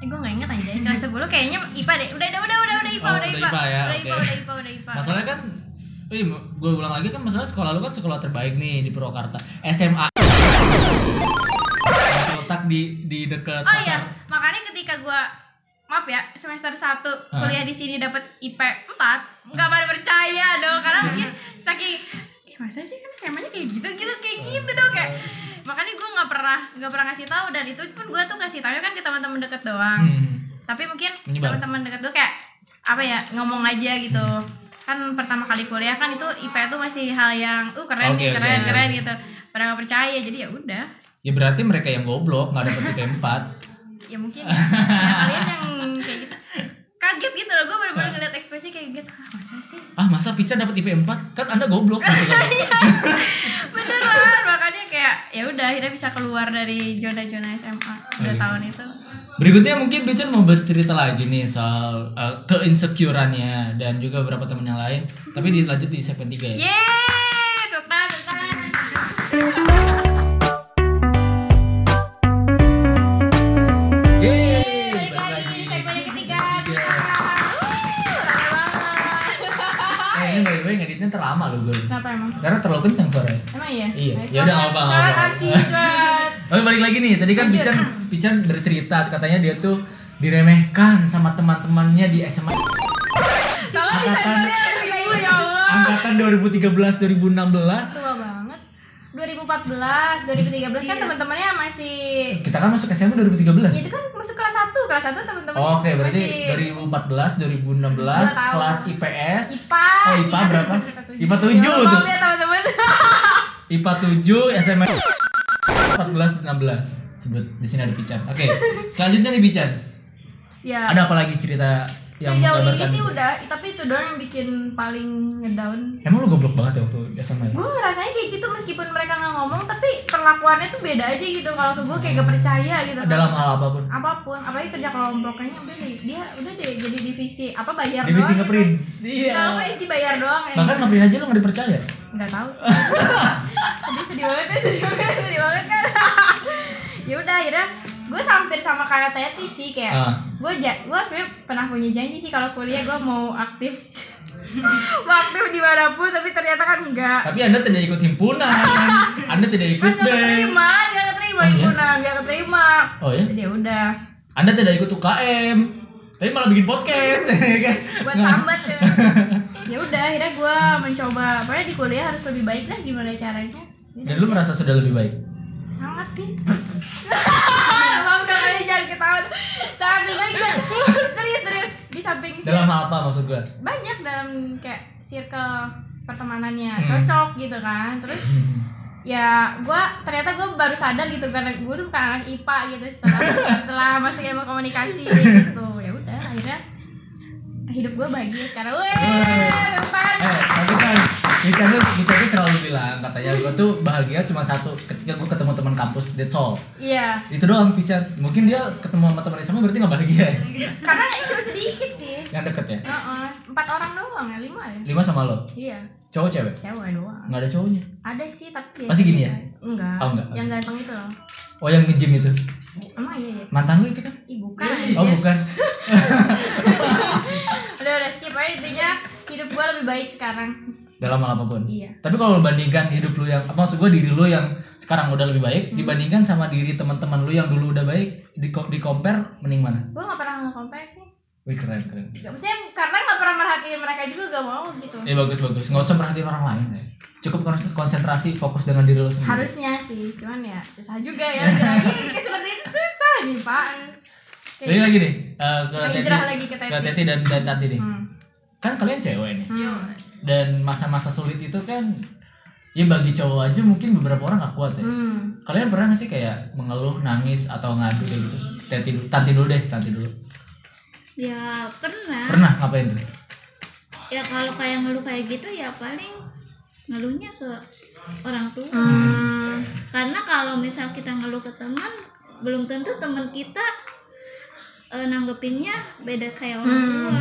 [SPEAKER 2] eh, gue nggak inget aja kelas 10 kayaknya IPA deh udah udah udah udah udah IPA
[SPEAKER 1] Oh,
[SPEAKER 2] udah
[SPEAKER 1] udah
[SPEAKER 2] IPA
[SPEAKER 1] IPA ya,
[SPEAKER 2] udah
[SPEAKER 1] oke.
[SPEAKER 2] IPA udah IPA udah IPA
[SPEAKER 1] Masalahnya kan Wih, gue ulang lagi kan masalah sekolah lu kan sekolah terbaik nih di Purwakarta SMA otak di di dekat
[SPEAKER 2] oh iya makanya ketika gue maaf ya semester
[SPEAKER 1] Hah?
[SPEAKER 2] 1 kuliah di sini dapat IP 4 nggak pada percaya dong karena mungkin saking "Ih, masa sih kan SMA nya kayak gitu gitu kayak
[SPEAKER 1] Oh,
[SPEAKER 2] gitu dong
[SPEAKER 1] iya.
[SPEAKER 2] kayak makanya gue nggak pernah nggak pernah ngasih tahu dan itu pun gue tuh ngasih tahu kan ke teman-teman deket doang
[SPEAKER 1] Hmm.
[SPEAKER 2] tapi mungkin
[SPEAKER 1] Menyebar.
[SPEAKER 2] teman-teman dekat gue kayak apa ya ngomong aja gitu kan pertama kali kuliah kan itu IP itu masih hal yang uh keren
[SPEAKER 1] Oke,
[SPEAKER 2] nih, keren
[SPEAKER 1] oke.
[SPEAKER 2] keren gitu pada nggak percaya jadi ya udah
[SPEAKER 1] Ya berarti mereka yang goblok nggak dapet IP 4
[SPEAKER 2] ya mungkin ya kalian yang kayak gitu kaget gitu loh gue bener-bener ngeliat ekspresi kayak gitu ah masa sih
[SPEAKER 1] Ah masa Pican dapet IP 4? Kan anda goblok gitu kan.
[SPEAKER 2] beneran makanya kayak ya udah akhirnya bisa keluar dari zona-zona SMA udah tahun itu
[SPEAKER 1] Berikutnya mungkin Pican mau bercerita lagi nih soal eh, keinsecureannya Dan juga beberapa temen yang lain Tapi dilanjut di segmen 3 ya
[SPEAKER 2] yeay tepuk tangan, tepuk tangan.
[SPEAKER 1] Yeay,
[SPEAKER 2] balik lagi segmen yang ketiga di
[SPEAKER 1] Tiga.
[SPEAKER 2] Wuh, rame banget
[SPEAKER 1] Eh ini by the way ngeditnya terlama loh gue
[SPEAKER 2] Kenapa emang?
[SPEAKER 1] Karena terlalu kencang suaranya
[SPEAKER 2] Emang iya?
[SPEAKER 1] Iya, yaudah, nggak apa-apa, nggak
[SPEAKER 2] Sangat
[SPEAKER 1] apa-apa.
[SPEAKER 2] asik banget.
[SPEAKER 1] Tapi balik lagi nih, tadi kan
[SPEAKER 2] Lanjut.
[SPEAKER 1] Pican, Pican bercerita katanya dia tuh diremehkan sama teman-temannya di SMA
[SPEAKER 2] Tolong
[SPEAKER 1] Angkatan-
[SPEAKER 2] disensornya harus ibu ya Allah.
[SPEAKER 1] angkatan 2013 2016
[SPEAKER 2] Tua banget. 2014, 2013 kan teman-temannya masih
[SPEAKER 1] kita kan masuk SMA
[SPEAKER 2] Ya,
[SPEAKER 1] 2013
[SPEAKER 2] itu kan masuk kelas 1, kelas 1 teman-teman.
[SPEAKER 1] Oh, Oke, berarti
[SPEAKER 2] masih
[SPEAKER 1] 2014 2016
[SPEAKER 2] tahun.
[SPEAKER 1] kelas IPS
[SPEAKER 2] IPA.
[SPEAKER 1] Oh,
[SPEAKER 2] Iya.
[SPEAKER 1] IPA berapa? IPA
[SPEAKER 2] Ya, maaf
[SPEAKER 1] 7.
[SPEAKER 2] ya teman-teman.
[SPEAKER 1] IPA 7 SMA 14 16 sebut di sini ada Pican oke selanjutnya nih Pican
[SPEAKER 2] ya
[SPEAKER 1] ada apa lagi cerita yang
[SPEAKER 2] sejauh ini
[SPEAKER 1] menggambarkan
[SPEAKER 2] sih
[SPEAKER 1] itu?
[SPEAKER 2] udah tapi itu doang yang bikin paling ngedown
[SPEAKER 1] emang lu goblok banget ya waktu SMA ya?
[SPEAKER 2] gue ngerasanya kayak gitu meskipun mereka nggak ngomong tapi perlakuannya tuh beda aja gitu kalau ke gue kayak
[SPEAKER 1] Hmm.
[SPEAKER 2] gak percaya gitu
[SPEAKER 1] dalam hal apapun
[SPEAKER 2] apapun apalagi kerja kelompok kayaknya udah deh dia udah deh jadi divisi apa bayar
[SPEAKER 1] divisi
[SPEAKER 2] doang
[SPEAKER 1] ngeprint Iya.
[SPEAKER 2] gitu. kalau ngeprint sih bayar doang ya.
[SPEAKER 1] bahkan ngeprint aja lu nggak dipercaya
[SPEAKER 2] nggak tahu sih sedih sedih banget ya sedih banget sedih banget kan ya udah akhirnya gue hampir sama kayak Teti sih kayak
[SPEAKER 1] Ah.
[SPEAKER 2] gue ja gue sebenarnya pernah punya janji sih kalau kuliah gue mau aktif mau aktif dimanapun tapi ternyata kan enggak
[SPEAKER 1] tapi anda tidak ikut himpunan anda tidak
[SPEAKER 2] kan
[SPEAKER 1] ikut
[SPEAKER 2] gak
[SPEAKER 1] band
[SPEAKER 2] keterima gak keterima
[SPEAKER 1] Oh, iya?
[SPEAKER 2] himpunan gak keterima
[SPEAKER 1] oh ya
[SPEAKER 2] jadi udah
[SPEAKER 1] anda tidak ikut UKM tapi malah bikin podcast ya kan
[SPEAKER 2] buat
[SPEAKER 1] Nah,
[SPEAKER 2] tambat ya ya udah akhirnya gue mencoba pokoknya di kuliah harus lebih baik lah gimana caranya
[SPEAKER 1] dan lu merasa sudah lebih baik
[SPEAKER 2] sangat sih maaf dong ini jangan ketahuan sangat lebih baik lah. serius serius di samping sih
[SPEAKER 1] dalam hal apa maksud gua
[SPEAKER 2] banyak dalam kayak circle pertemanannya
[SPEAKER 1] Hmm.
[SPEAKER 2] cocok gitu kan terus ya gue ternyata gue baru sadar gitu karena gue tuh bukan anak IPA gitu setelah setelah masuk ilmu komunikasi gitu ya udah akhirnya hidup gue bahagia sekarang weh tepuk tangan.
[SPEAKER 1] Eh, tapi kan Mika tuh, Mika tuh terlalu bilang katanya gua tuh bahagia cuma satu ketika gua ketemu teman kampus that's all
[SPEAKER 2] iya
[SPEAKER 1] itu doang picat mungkin dia ketemu sama teman SMA berarti nggak bahagia ya?
[SPEAKER 2] karena cuma sedikit sih
[SPEAKER 1] yang deket ya
[SPEAKER 2] Heeh, empat orang doang ya lima ya
[SPEAKER 1] lima sama lo
[SPEAKER 2] iya
[SPEAKER 1] cowok cewek
[SPEAKER 2] cewek doang
[SPEAKER 1] nggak ada cowoknya
[SPEAKER 2] ada sih tapi
[SPEAKER 1] Masih gini ya?
[SPEAKER 2] enggak
[SPEAKER 1] Oh, enggak.
[SPEAKER 2] yang ganteng itu loh
[SPEAKER 1] oh yang nge-gym itu
[SPEAKER 2] emang iya ya
[SPEAKER 1] mantan lu itu kan
[SPEAKER 2] Ih, bukan
[SPEAKER 1] oh bukan
[SPEAKER 2] udah udah skip aja intinya hidup gue lebih baik sekarang
[SPEAKER 1] dalam hal apapun
[SPEAKER 2] Iya.
[SPEAKER 1] tapi kalau lu bandingkan hidup lu yang apa maksud gua diri lu yang sekarang udah lebih
[SPEAKER 2] Hmm.
[SPEAKER 1] baik dibandingkan sama diri teman-teman lu yang dulu udah baik di di compare mending mana
[SPEAKER 2] gue gak pernah ngomong sih
[SPEAKER 1] wih keren keren
[SPEAKER 2] Gak, maksudnya karena gak pernah merhatiin mereka juga gak mau gitu
[SPEAKER 1] ya bagus bagus nggak usah perhatiin orang lain ya. cukup kon- konsentrasi fokus dengan diri lu sendiri
[SPEAKER 2] harusnya sih cuman ya susah juga ya lagi kayak seperti itu susah nih pak
[SPEAKER 1] jadi lagi nih eh, ke
[SPEAKER 2] gitu. Lagi
[SPEAKER 1] Teti-
[SPEAKER 2] jerah lagi ke Teti.
[SPEAKER 1] Teti dan dan Tati nih
[SPEAKER 2] Hmm.
[SPEAKER 1] kan kalian cewek nih
[SPEAKER 2] Hmm.
[SPEAKER 1] dan masa-masa sulit itu kan ya bagi cowok aja mungkin beberapa orang gak kuat ya
[SPEAKER 2] hmm.
[SPEAKER 1] kalian pernah gak sih kayak mengeluh nangis atau ngadu kayak gitu tati dulu tanti dulu deh tanti dulu
[SPEAKER 5] ya pernah
[SPEAKER 1] pernah ngapain tuh
[SPEAKER 5] ya kalau kayak ngeluh kayak gitu ya paling ngeluhnya ke orang tua karena kalau misal kita ngeluh ke teman belum tentu teman kita eh, nanggepinnya beda kayak orang tua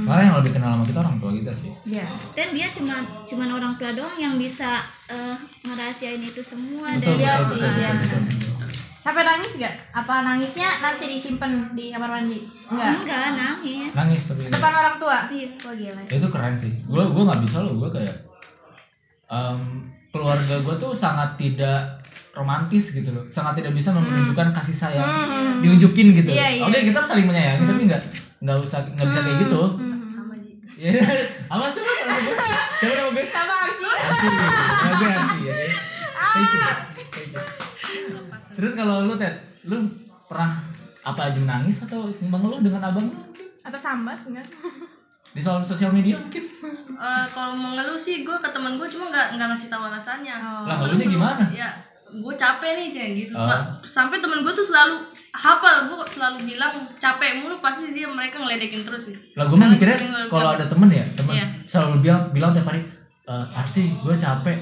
[SPEAKER 2] Mm-hmm.
[SPEAKER 1] malah yang lebih kenal sama kita orang tua kita sih
[SPEAKER 2] ya
[SPEAKER 5] dan dia cuma cuman orang tua doang yang bisa eh, ngerahasiain itu semua
[SPEAKER 1] betul
[SPEAKER 5] dan
[SPEAKER 2] iya
[SPEAKER 1] betul
[SPEAKER 2] sih,
[SPEAKER 1] betul,
[SPEAKER 2] iya.
[SPEAKER 1] betul, betul, betul.
[SPEAKER 2] sampai nangis gak apa nangisnya nanti disimpan di kamar mandi enggak
[SPEAKER 5] enggak nangis
[SPEAKER 1] nangis tapi
[SPEAKER 2] depan orang tua
[SPEAKER 5] Iya.
[SPEAKER 2] wah gila
[SPEAKER 1] Ya, itu keren sih gue gue nggak bisa loh gue kayak em, keluarga gue tuh sangat tidak romantis gitu loh sangat tidak bisa menunjukkan kasih sayang diunjukin gitu
[SPEAKER 2] Mm. Mm-hmm. Iya, Mm. iya.
[SPEAKER 1] oke kita saling menyayangi tapi nggak nggak usah nggak bisa kayak gitu
[SPEAKER 2] Mm.
[SPEAKER 1] Ya, apa sih Bang? Apa gue? Coba nama gue.
[SPEAKER 2] sama Arsi
[SPEAKER 1] Arsi. Nama gue Arsi, ya. oke? Thank you. Thank you. Terus kalau lu Ted, lu pernah apa aja menangis atau mengeluh dengan abang lu mungkin?
[SPEAKER 2] atau sambat enggak
[SPEAKER 1] Di soal sosial media mungkin?
[SPEAKER 3] Eh, kalau mau ngeluh sih gue ke teman gue cuma nggak nggak ngasih tahu alasannya
[SPEAKER 1] Lah ngeluhnya gimana?
[SPEAKER 3] ya gue capek nih ceng gitu
[SPEAKER 1] Oh.
[SPEAKER 3] Pak. sampai teman gue tuh selalu hafal gue selalu bilang capek mulu pasti dia mereka ngeledekin terus gitu
[SPEAKER 1] Lah gue mah
[SPEAKER 3] Kalau
[SPEAKER 1] mikirnya
[SPEAKER 3] sering ngelakuin.
[SPEAKER 1] kalau ada temen ya, temen
[SPEAKER 3] Iya.
[SPEAKER 1] selalu bilang bilang tiap hari, e, Arsi gue capek,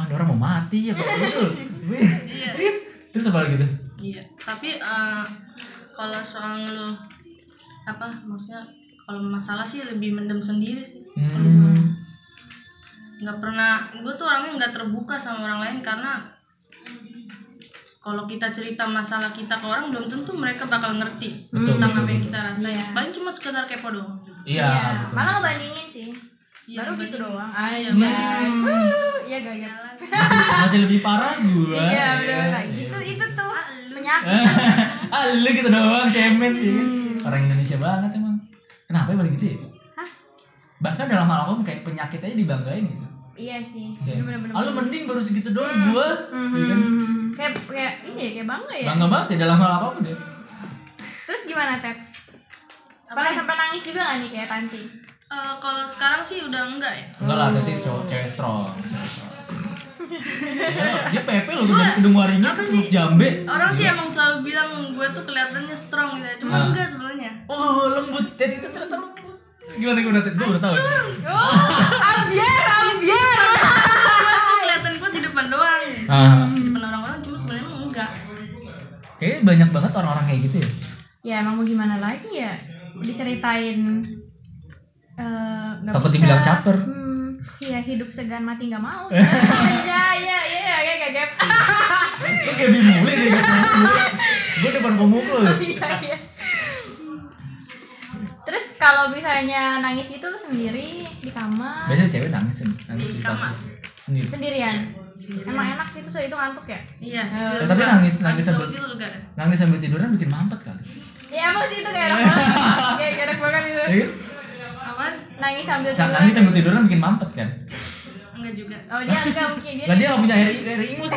[SPEAKER 1] ah ini orang mau mati ya Pak Betul.
[SPEAKER 3] Iya.
[SPEAKER 1] Terus apa lagi tuh?
[SPEAKER 3] Iya, tapi eh, kalau soal ngeluh apa maksudnya kalau masalah sih lebih mendem sendiri sih.
[SPEAKER 1] Hmm.
[SPEAKER 3] Nggak pernah, gue tuh orangnya nggak terbuka sama orang lain karena kalau kita cerita masalah kita ke orang belum tentu mereka bakal ngerti
[SPEAKER 1] Betul,
[SPEAKER 3] tentang
[SPEAKER 1] betul,
[SPEAKER 3] apa yang
[SPEAKER 1] betul.
[SPEAKER 3] kita rasain.
[SPEAKER 2] Iya.
[SPEAKER 3] Paling cuma sekedar kepo doang.
[SPEAKER 1] Iya,
[SPEAKER 2] Iya,
[SPEAKER 1] betul.
[SPEAKER 2] malah ngebandingin sih.
[SPEAKER 3] Iya,
[SPEAKER 2] Baru gitu doang. Ayo,
[SPEAKER 3] Iya.
[SPEAKER 2] Iya, gak ya.
[SPEAKER 1] Masih, masih lebih parah gue.
[SPEAKER 2] Iya, benar-benar. Itu itu tuh penyakit.
[SPEAKER 1] ah lu gitu doang cemen ya kan?
[SPEAKER 3] Hmm.
[SPEAKER 1] orang Indonesia banget emang kenapa ya pada gitu ya bahkan dalam hal apapun kayak penyakit aja dibanggain gitu
[SPEAKER 2] Iya sih.
[SPEAKER 1] kayak
[SPEAKER 2] Bener-bener.
[SPEAKER 1] ah lu mending baru segitu doang
[SPEAKER 3] Hmm.
[SPEAKER 1] gua Ya kan?
[SPEAKER 2] Mhm. Kayak kayak ini ya, kayak bangga
[SPEAKER 3] Iya.
[SPEAKER 2] ya.
[SPEAKER 1] bangga banget ya dalam hal apapun deh
[SPEAKER 2] Terus gimana, Ted? Pernah sampai nangis juga gak nih kayak Tanti?
[SPEAKER 3] Eh, kalau sekarang sih udah enggak ya.
[SPEAKER 1] enggak lah tadi cowok cewek strong cewek strong. Iya, dia pepe loh gedung, gedung warinya
[SPEAKER 3] apa
[SPEAKER 1] terus
[SPEAKER 3] sih?
[SPEAKER 1] jambe. Iya.
[SPEAKER 3] Orang sih emang selalu bilang gue tuh kelihatannya strong gitu, ya. cuma
[SPEAKER 1] Ah.
[SPEAKER 3] enggak sebenarnya.
[SPEAKER 1] Oh, lembut. Dan itu ternyata lembut. Gimana gimana? Gue udah tahu.
[SPEAKER 2] Oh,
[SPEAKER 6] ambiar ambiar
[SPEAKER 3] Cuma kelihatan gue di depan doang, di
[SPEAKER 1] Ah,
[SPEAKER 3] depan orang-orang cuma sebenarnya emang enggak.
[SPEAKER 1] kayaknya banyak banget orang-orang kayak gitu ya.
[SPEAKER 6] ya emang mau gimana lagi ya diceritain eh, nggak
[SPEAKER 1] Takut
[SPEAKER 6] bisa.
[SPEAKER 1] dibilang caper.
[SPEAKER 6] hmm,
[SPEAKER 2] iya,
[SPEAKER 6] ya hidup segan mati nggak mau ya ya ya ya ya ya, ya.
[SPEAKER 1] Lu kayak bimuli deh Gue depan komuk lo.
[SPEAKER 6] Iya, iya. terus kalau misalnya nangis gitu lu sendiri di kamar
[SPEAKER 1] Biasanya cewek nangis nangis di pasti sendiri.
[SPEAKER 6] sendirian emang enak sih itu soal itu ngantuk ya
[SPEAKER 3] Iya.
[SPEAKER 1] Ya, tapi nangis nangis sambil
[SPEAKER 3] Gitu lu enggak.
[SPEAKER 1] nangis sambil tiduran bikin mampet kali.
[SPEAKER 6] ya emang sih itu kayak enak banget kayak kayak enak banget itu
[SPEAKER 1] Ya kan?
[SPEAKER 6] Apaan? nangis sambil
[SPEAKER 1] Cak
[SPEAKER 6] tiduran
[SPEAKER 1] nangis sambil tiduran bikin mampet kan.
[SPEAKER 3] Enggak juga.
[SPEAKER 6] oh dia enggak mungkin dia
[SPEAKER 2] Iya.
[SPEAKER 1] Lah dia nggak punya air, air ingus.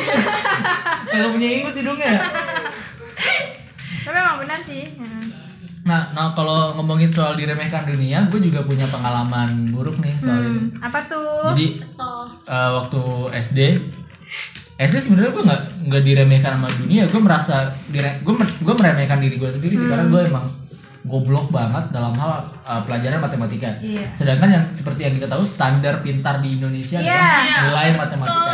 [SPEAKER 1] Kalau punya ingus hidungnya.
[SPEAKER 6] tapi emang benar sih Hmm.
[SPEAKER 1] Nah, nah kalau ngomongin soal diremehkan dunia, gue juga punya pengalaman buruk nih soal ini.
[SPEAKER 6] Hmm, apa tuh
[SPEAKER 1] Jadi eh, waktu SD, SD sebenarnya gue nggak nggak diremehkan sama dunia. Gue merasa dire, gue mer- gue meremehkan diri gue sendiri sih
[SPEAKER 6] Hmm.
[SPEAKER 1] karena gue emang goblok banget dalam hal eh, pelajaran matematika.
[SPEAKER 6] Iya.
[SPEAKER 1] Sedangkan yang seperti yang kita tahu standar pintar di Indonesia
[SPEAKER 6] Iya.
[SPEAKER 1] adalah nilai matematika.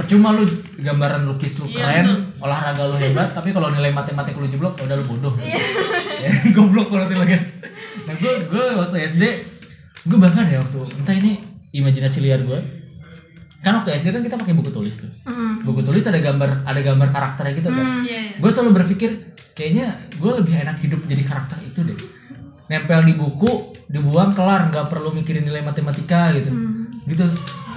[SPEAKER 1] Percuma lu gambaran lukis lu keren, olahraga lu hebat, tapi kalau nilai matematik lu jeblok, udah lu bodoh. Ya, Goblok berarti lagi. Nah, gue gue waktu SD gue bahkan ya waktu entah ini imajinasi liar gue. Kan waktu SD kan kita pakai buku tulis tuh. Buku tulis ada gambar ada gambar karakternya gitu kan.
[SPEAKER 3] Iya.
[SPEAKER 1] Gue selalu berpikir kayaknya gue lebih enak hidup jadi karakter itu deh. Nempel di buku, dibuang kelar, nggak perlu mikirin nilai matematika gitu.
[SPEAKER 6] Hmm.
[SPEAKER 1] Gitu.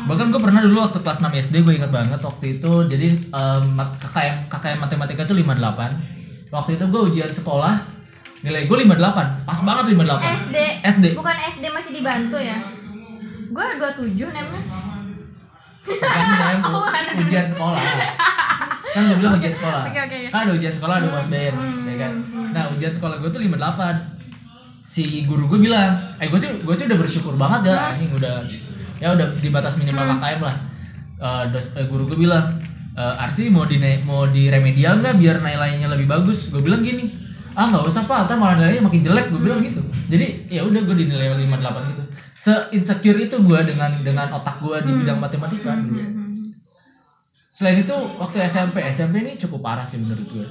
[SPEAKER 1] Bahkan gue pernah dulu waktu kelas 6 SD gue ingat banget waktu itu jadi em, mat- KKM KKM matematika itu 58. Waktu itu gue ujian sekolah nilai gue 58. Pas banget 58.
[SPEAKER 6] SD
[SPEAKER 1] SD.
[SPEAKER 6] bukan SD masih dibantu ya gue 27 namanya
[SPEAKER 1] Bukan UTM,
[SPEAKER 6] Oh, bukan.
[SPEAKER 1] ujian sekolah. Kan gue bilang ujian sekolah.
[SPEAKER 6] oke, Hmm, oke.
[SPEAKER 1] Kan ada ujian sekolah, ada UASBN, ya kan. Nah, ujian sekolah gue tuh 58. Si guru gue bilang, "Eh, gue sih gue sih udah bersyukur banget ya, anjing udah ya udah di batas minimal
[SPEAKER 6] Hmm.
[SPEAKER 1] KKM lah." Eh, dos- eh, guru gue bilang, "Eh, Arsi mau di mau di remedial nggak biar nilainya lebih bagus?" Gue bilang gini, "Ah, nggak usah, Pak. Ntar malah nilainya makin jelek." Gue bilang
[SPEAKER 6] Hmm.
[SPEAKER 1] gitu. Jadi, ya udah gue di nilai 58 gitu. Se insecure itu gue dengan dengan otak gue di
[SPEAKER 6] Hmm.
[SPEAKER 1] bidang matematika dulu. ya. Selain itu waktu SMP SMP ini cukup parah sih menurut gue.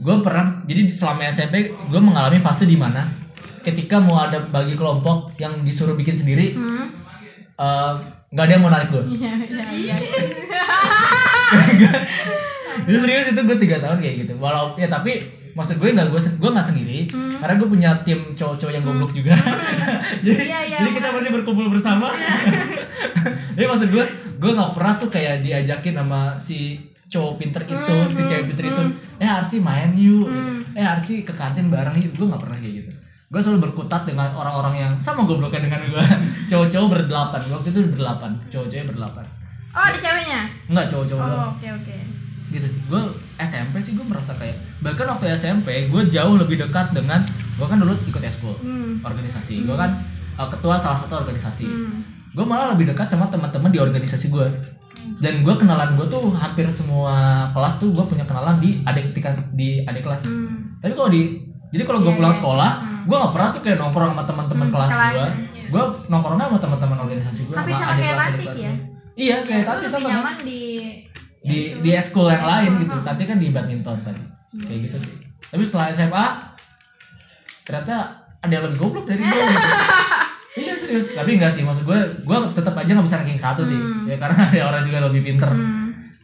[SPEAKER 1] Gue pernah jadi selama SMP gue mengalami fase di mana ketika mau ada bagi kelompok yang disuruh bikin sendiri eh, nggak ada yang mau narik gue. Jadi serius itu gue tiga tahun kayak gitu. Walau ya tapi maksud gue nggak gue se- gue nggak sendiri
[SPEAKER 6] Hmm.
[SPEAKER 1] karena gue punya tim cowok-cowok yang goblok juga. jadi
[SPEAKER 6] Iya, iya,
[SPEAKER 1] jadi kita masih berkumpul bersama. jadi maksud gue gue nggak pernah tuh kayak diajakin sama si cowok pinter itu,
[SPEAKER 6] Hmm,
[SPEAKER 1] si cewek pinter itu, eh harus sih main yuk, gitu. eh harus sih ke kantin bareng yuk, gue nggak pernah kayak gitu. Gue selalu berkutat dengan orang-orang yang sama gobloknya dengan gue. cowok-cowok berdelapan, waktu itu berdelapan, cowok-cowoknya berdelapan.
[SPEAKER 6] oh ada ceweknya
[SPEAKER 1] Enggak cowok-cowok doang
[SPEAKER 6] oh oke oke
[SPEAKER 1] gitu sih gue SMP sih gue merasa kayak bahkan waktu SMP gue jauh lebih dekat dengan gue kan dulu ikut eskul
[SPEAKER 6] Hmm.
[SPEAKER 1] organisasi gue kan uh, ketua salah satu organisasi gue malah lebih dekat sama teman-teman di organisasi gue dan gue kenalan gue tuh hampir semua kelas tuh gue punya kenalan di adik tingkat- di adik kelas
[SPEAKER 6] Hmm.
[SPEAKER 1] tapi kalau di jadi kalau
[SPEAKER 6] Iya,
[SPEAKER 1] gue pulang sekolah gue gak pernah tuh kayak nongkrong sama teman-teman kelas
[SPEAKER 6] Hmm, kelas, iya.
[SPEAKER 1] gue gue nongkrong sama teman-teman organisasi gue
[SPEAKER 6] Tapi sama kayak
[SPEAKER 1] kelas-adik
[SPEAKER 6] Latif
[SPEAKER 1] kelas
[SPEAKER 6] ya?
[SPEAKER 1] gua. iya kayak
[SPEAKER 6] Lu
[SPEAKER 1] tadi
[SPEAKER 6] lebih
[SPEAKER 1] sama
[SPEAKER 6] nyaman di
[SPEAKER 1] di di eskul yang lain gitu tadi kan di badminton tadi kayak gitu sih tapi setelah SMA ternyata ada yang lebih goblok dari gue gitu. iya serius tapi enggak sih maksud gue gue tetap aja nggak bisa ranking satu sih ya karena ada orang juga lebih pinter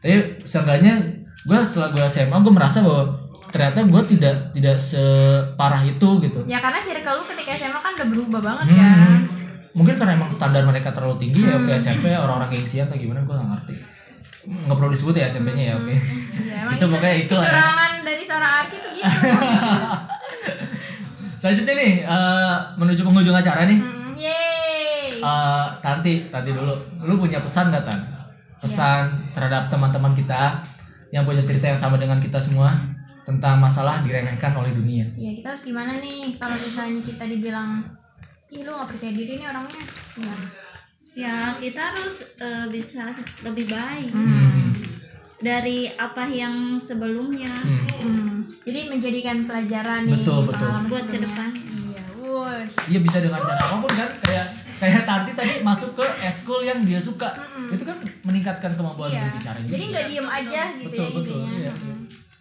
[SPEAKER 1] tapi seenggaknya gue setelah gue SMA gue merasa bahwa ternyata gue tidak tidak separah itu gitu
[SPEAKER 6] ya karena circle lu ketika SMA kan udah berubah banget
[SPEAKER 1] Hmm.
[SPEAKER 6] kan
[SPEAKER 1] mungkin karena emang standar mereka terlalu tinggi ya waktu SMP orang-orang gengsian atau gimana gue nggak ngerti nggak perlu disebut ya SMP-nya ya oke
[SPEAKER 6] ya emang
[SPEAKER 2] iya?
[SPEAKER 1] itu pokoknya itulah ya.
[SPEAKER 6] kecurangan dari seorang Arsi tuh gitu
[SPEAKER 1] Selanjutnya nih eh, menuju penghujung acara nih.
[SPEAKER 6] Hmm, yeay
[SPEAKER 1] Eh, Tanti, Tanti dulu. Lu punya pesan nggak Tan? Pesan terhadap teman-teman kita yang punya cerita yang sama dengan kita semua tentang masalah diremehkan oleh dunia.
[SPEAKER 6] ya kita harus gimana nih kalau misalnya kita dibilang ih lu gak percaya diri nih orangnya gimana
[SPEAKER 5] ya kita harus eh, bisa lebih baik
[SPEAKER 1] Hmm.
[SPEAKER 5] dari apa yang sebelumnya
[SPEAKER 1] Hmm.
[SPEAKER 2] Jadi menjadikan pelajaran nih
[SPEAKER 1] Betul, betul.
[SPEAKER 2] pengalaman
[SPEAKER 5] buat ke
[SPEAKER 2] sebelumnya.
[SPEAKER 5] depan
[SPEAKER 2] Iya, wush.
[SPEAKER 1] Iya bisa dengan cara apapun kan kayak kayak Tanti tadi masuk ke eskul yang dia suka itu kan meningkatkan kemampuan
[SPEAKER 2] Hmm, Iya.
[SPEAKER 1] berbicara juga.
[SPEAKER 2] Jadi nggak diem aja gitu
[SPEAKER 1] betul
[SPEAKER 2] ya
[SPEAKER 1] betul
[SPEAKER 2] intinya.
[SPEAKER 1] iya.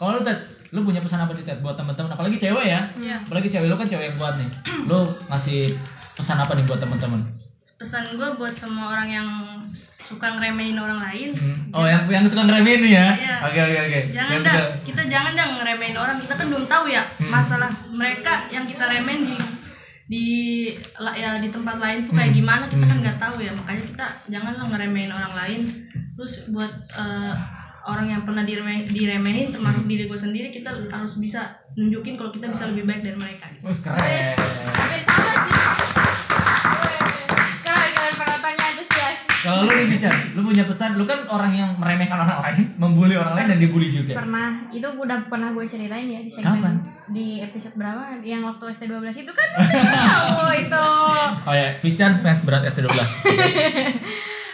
[SPEAKER 1] Kalau lu Ted, lu punya pesan apa nih Ted buat teman-teman apalagi cewek ya?
[SPEAKER 2] Iya.
[SPEAKER 1] Apalagi cewek lu kan cewek yang kuat nih. Lu ngasih pesan apa nih buat teman-teman?
[SPEAKER 3] pesan gue buat semua orang yang suka ngeremehin orang lain
[SPEAKER 1] Hmm. Oh yang yang suka ngeremehin nih ya?
[SPEAKER 3] Iya.
[SPEAKER 1] Oke oke oke.
[SPEAKER 3] jangan
[SPEAKER 1] Yang
[SPEAKER 3] dah
[SPEAKER 1] suka-
[SPEAKER 3] kita jangan dah ngeremehin orang kita kan belum tahu ya masalah mereka yang kita remehin di di la- ya di tempat lain tuh kayak gimana kita kan nggak tahu ya makanya kita janganlah ngeremehin orang lain terus buat eh, orang yang pernah direme- diremehin termasuk diri gue sendiri kita harus bisa nunjukin kalau kita bisa lebih baik dari mereka
[SPEAKER 1] Wih, keren.
[SPEAKER 2] Hampir sama sih. Wush. Keren keren penontonnya antusias.
[SPEAKER 1] Kalau lu nih bicara, lu punya pesan, lu kan orang yang meremehkan orang lain, membuli orang lain dan dibully juga.
[SPEAKER 2] Pernah itu udah pernah gue ceritain ya di
[SPEAKER 1] Iya. Kapan?
[SPEAKER 2] segmen di episode berapa yang waktu ST12 itu kan tahu itu.
[SPEAKER 1] Oh ya, Pican fans berat ST12.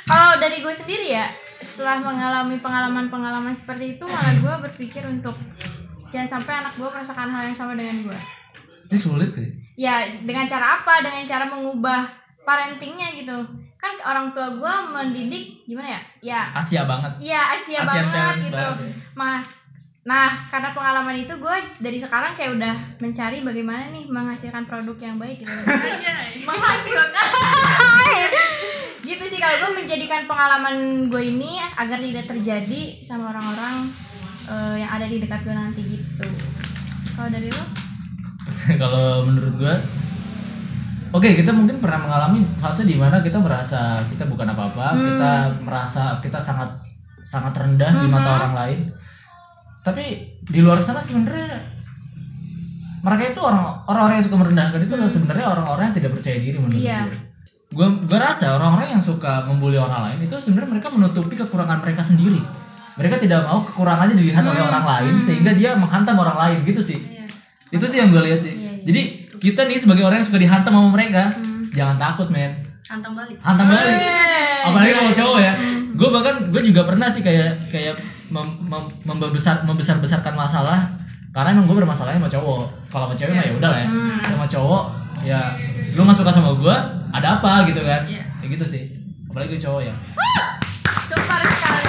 [SPEAKER 2] Kalau dari gue sendiri ya, setelah mengalami pengalaman-pengalaman seperti itu, malah gue berpikir untuk jangan sampai anak gue merasakan hal yang sama dengan gue.
[SPEAKER 1] Ini sulit ya.
[SPEAKER 2] Ya, dengan cara apa? Dengan cara mengubah parentingnya gitu. Kan orang tua gue mendidik gimana ya? Ya,
[SPEAKER 1] Asia banget.
[SPEAKER 2] Iya Asia,
[SPEAKER 1] Asian
[SPEAKER 2] banget
[SPEAKER 1] parents
[SPEAKER 2] gitu.
[SPEAKER 1] banget ya.
[SPEAKER 2] Mah, nah karena pengalaman itu gue dari sekarang kayak udah mencari bagaimana nih menghasilkan produk yang baik gitu. menghasilkan. gitu sih kalau gue menjadikan pengalaman gue ini agar tidak terjadi sama orang-orang eh, yang ada di dekat gue nanti gitu. Kalau dari lu?
[SPEAKER 1] Kalau menurut gua Oke, kita mungkin pernah mengalami fase di mana kita merasa kita bukan apa-apa, kita merasa kita sangat sangat rendah di mata orang lain. Tapi di luar sana sebenarnya mereka itu orang orang-orang yang suka merendahkan itu adalah sebenarnya orang-orang yang tidak percaya diri menurut
[SPEAKER 2] Iya.
[SPEAKER 1] gue. Gue gue rasa orang-orang yang suka membuli orang lain itu sebenarnya mereka menutupi kekurangan mereka sendiri. Mereka tidak mau kekurangannya dilihat oleh orang lain sehingga dia menghantam orang lain gitu sih. Itu sih yang gue lihat sih. Jadi kita nih sebagai orang yang suka dihantam sama mereka, jangan takut men.
[SPEAKER 3] hantam balik
[SPEAKER 1] Hantam balik. Apalagi kalau cowok ya. Gue bahkan gue juga pernah sih kayak kayak mem- mem- membesar membesar besarkan masalah karena emang gue bermasalahnya sama cowok. Kalau sama cewek mah ya udah lah ya. Sama cowok ya lu nggak suka sama gue, ada apa gitu kan? Ya gitu sih. Apalagi gue cowok ya.
[SPEAKER 2] Super sekali.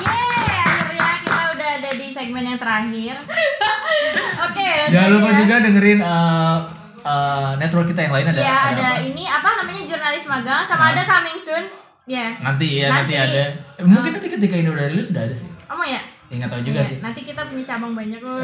[SPEAKER 2] Yeay, akhirnya kita udah ada di segmen yang terakhir. Oke.
[SPEAKER 1] Jangan lupa
[SPEAKER 2] akhirnya-
[SPEAKER 1] juga dengerin eh, eh, network kita yang lain ada.
[SPEAKER 2] Iya
[SPEAKER 1] ada
[SPEAKER 2] ada,
[SPEAKER 1] apa? Nah.
[SPEAKER 2] ini apa namanya jurnalis magang sama ada coming soon. Ya.
[SPEAKER 1] Nanti ya nanti,
[SPEAKER 2] Nanti.
[SPEAKER 1] ada. Eh, Mungkin nanti ketika ini udah rilis sudah ada sih.
[SPEAKER 2] Oh mau ya?
[SPEAKER 1] Ya nggak tahu juga
[SPEAKER 2] Iya,
[SPEAKER 1] sih.
[SPEAKER 2] Nanti kita punya cabang banyak. woy.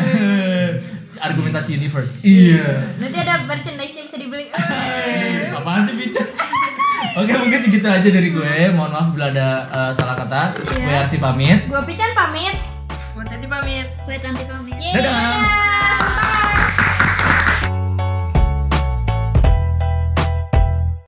[SPEAKER 1] Argumentasi universe. Iya.
[SPEAKER 2] Nanti ada merchandise yang bisa dibeli. Eh, Woy.
[SPEAKER 1] Apaan sih bicara? Oke mungkin segitu aja dari gue. Mohon maaf bila ada eh, salah kata. Gue Arsi pamit.
[SPEAKER 2] Gua Pican pamit.
[SPEAKER 3] buat tadi pamit
[SPEAKER 5] gue nanti pamit
[SPEAKER 2] Yeay,
[SPEAKER 1] Dadah.
[SPEAKER 2] dadah.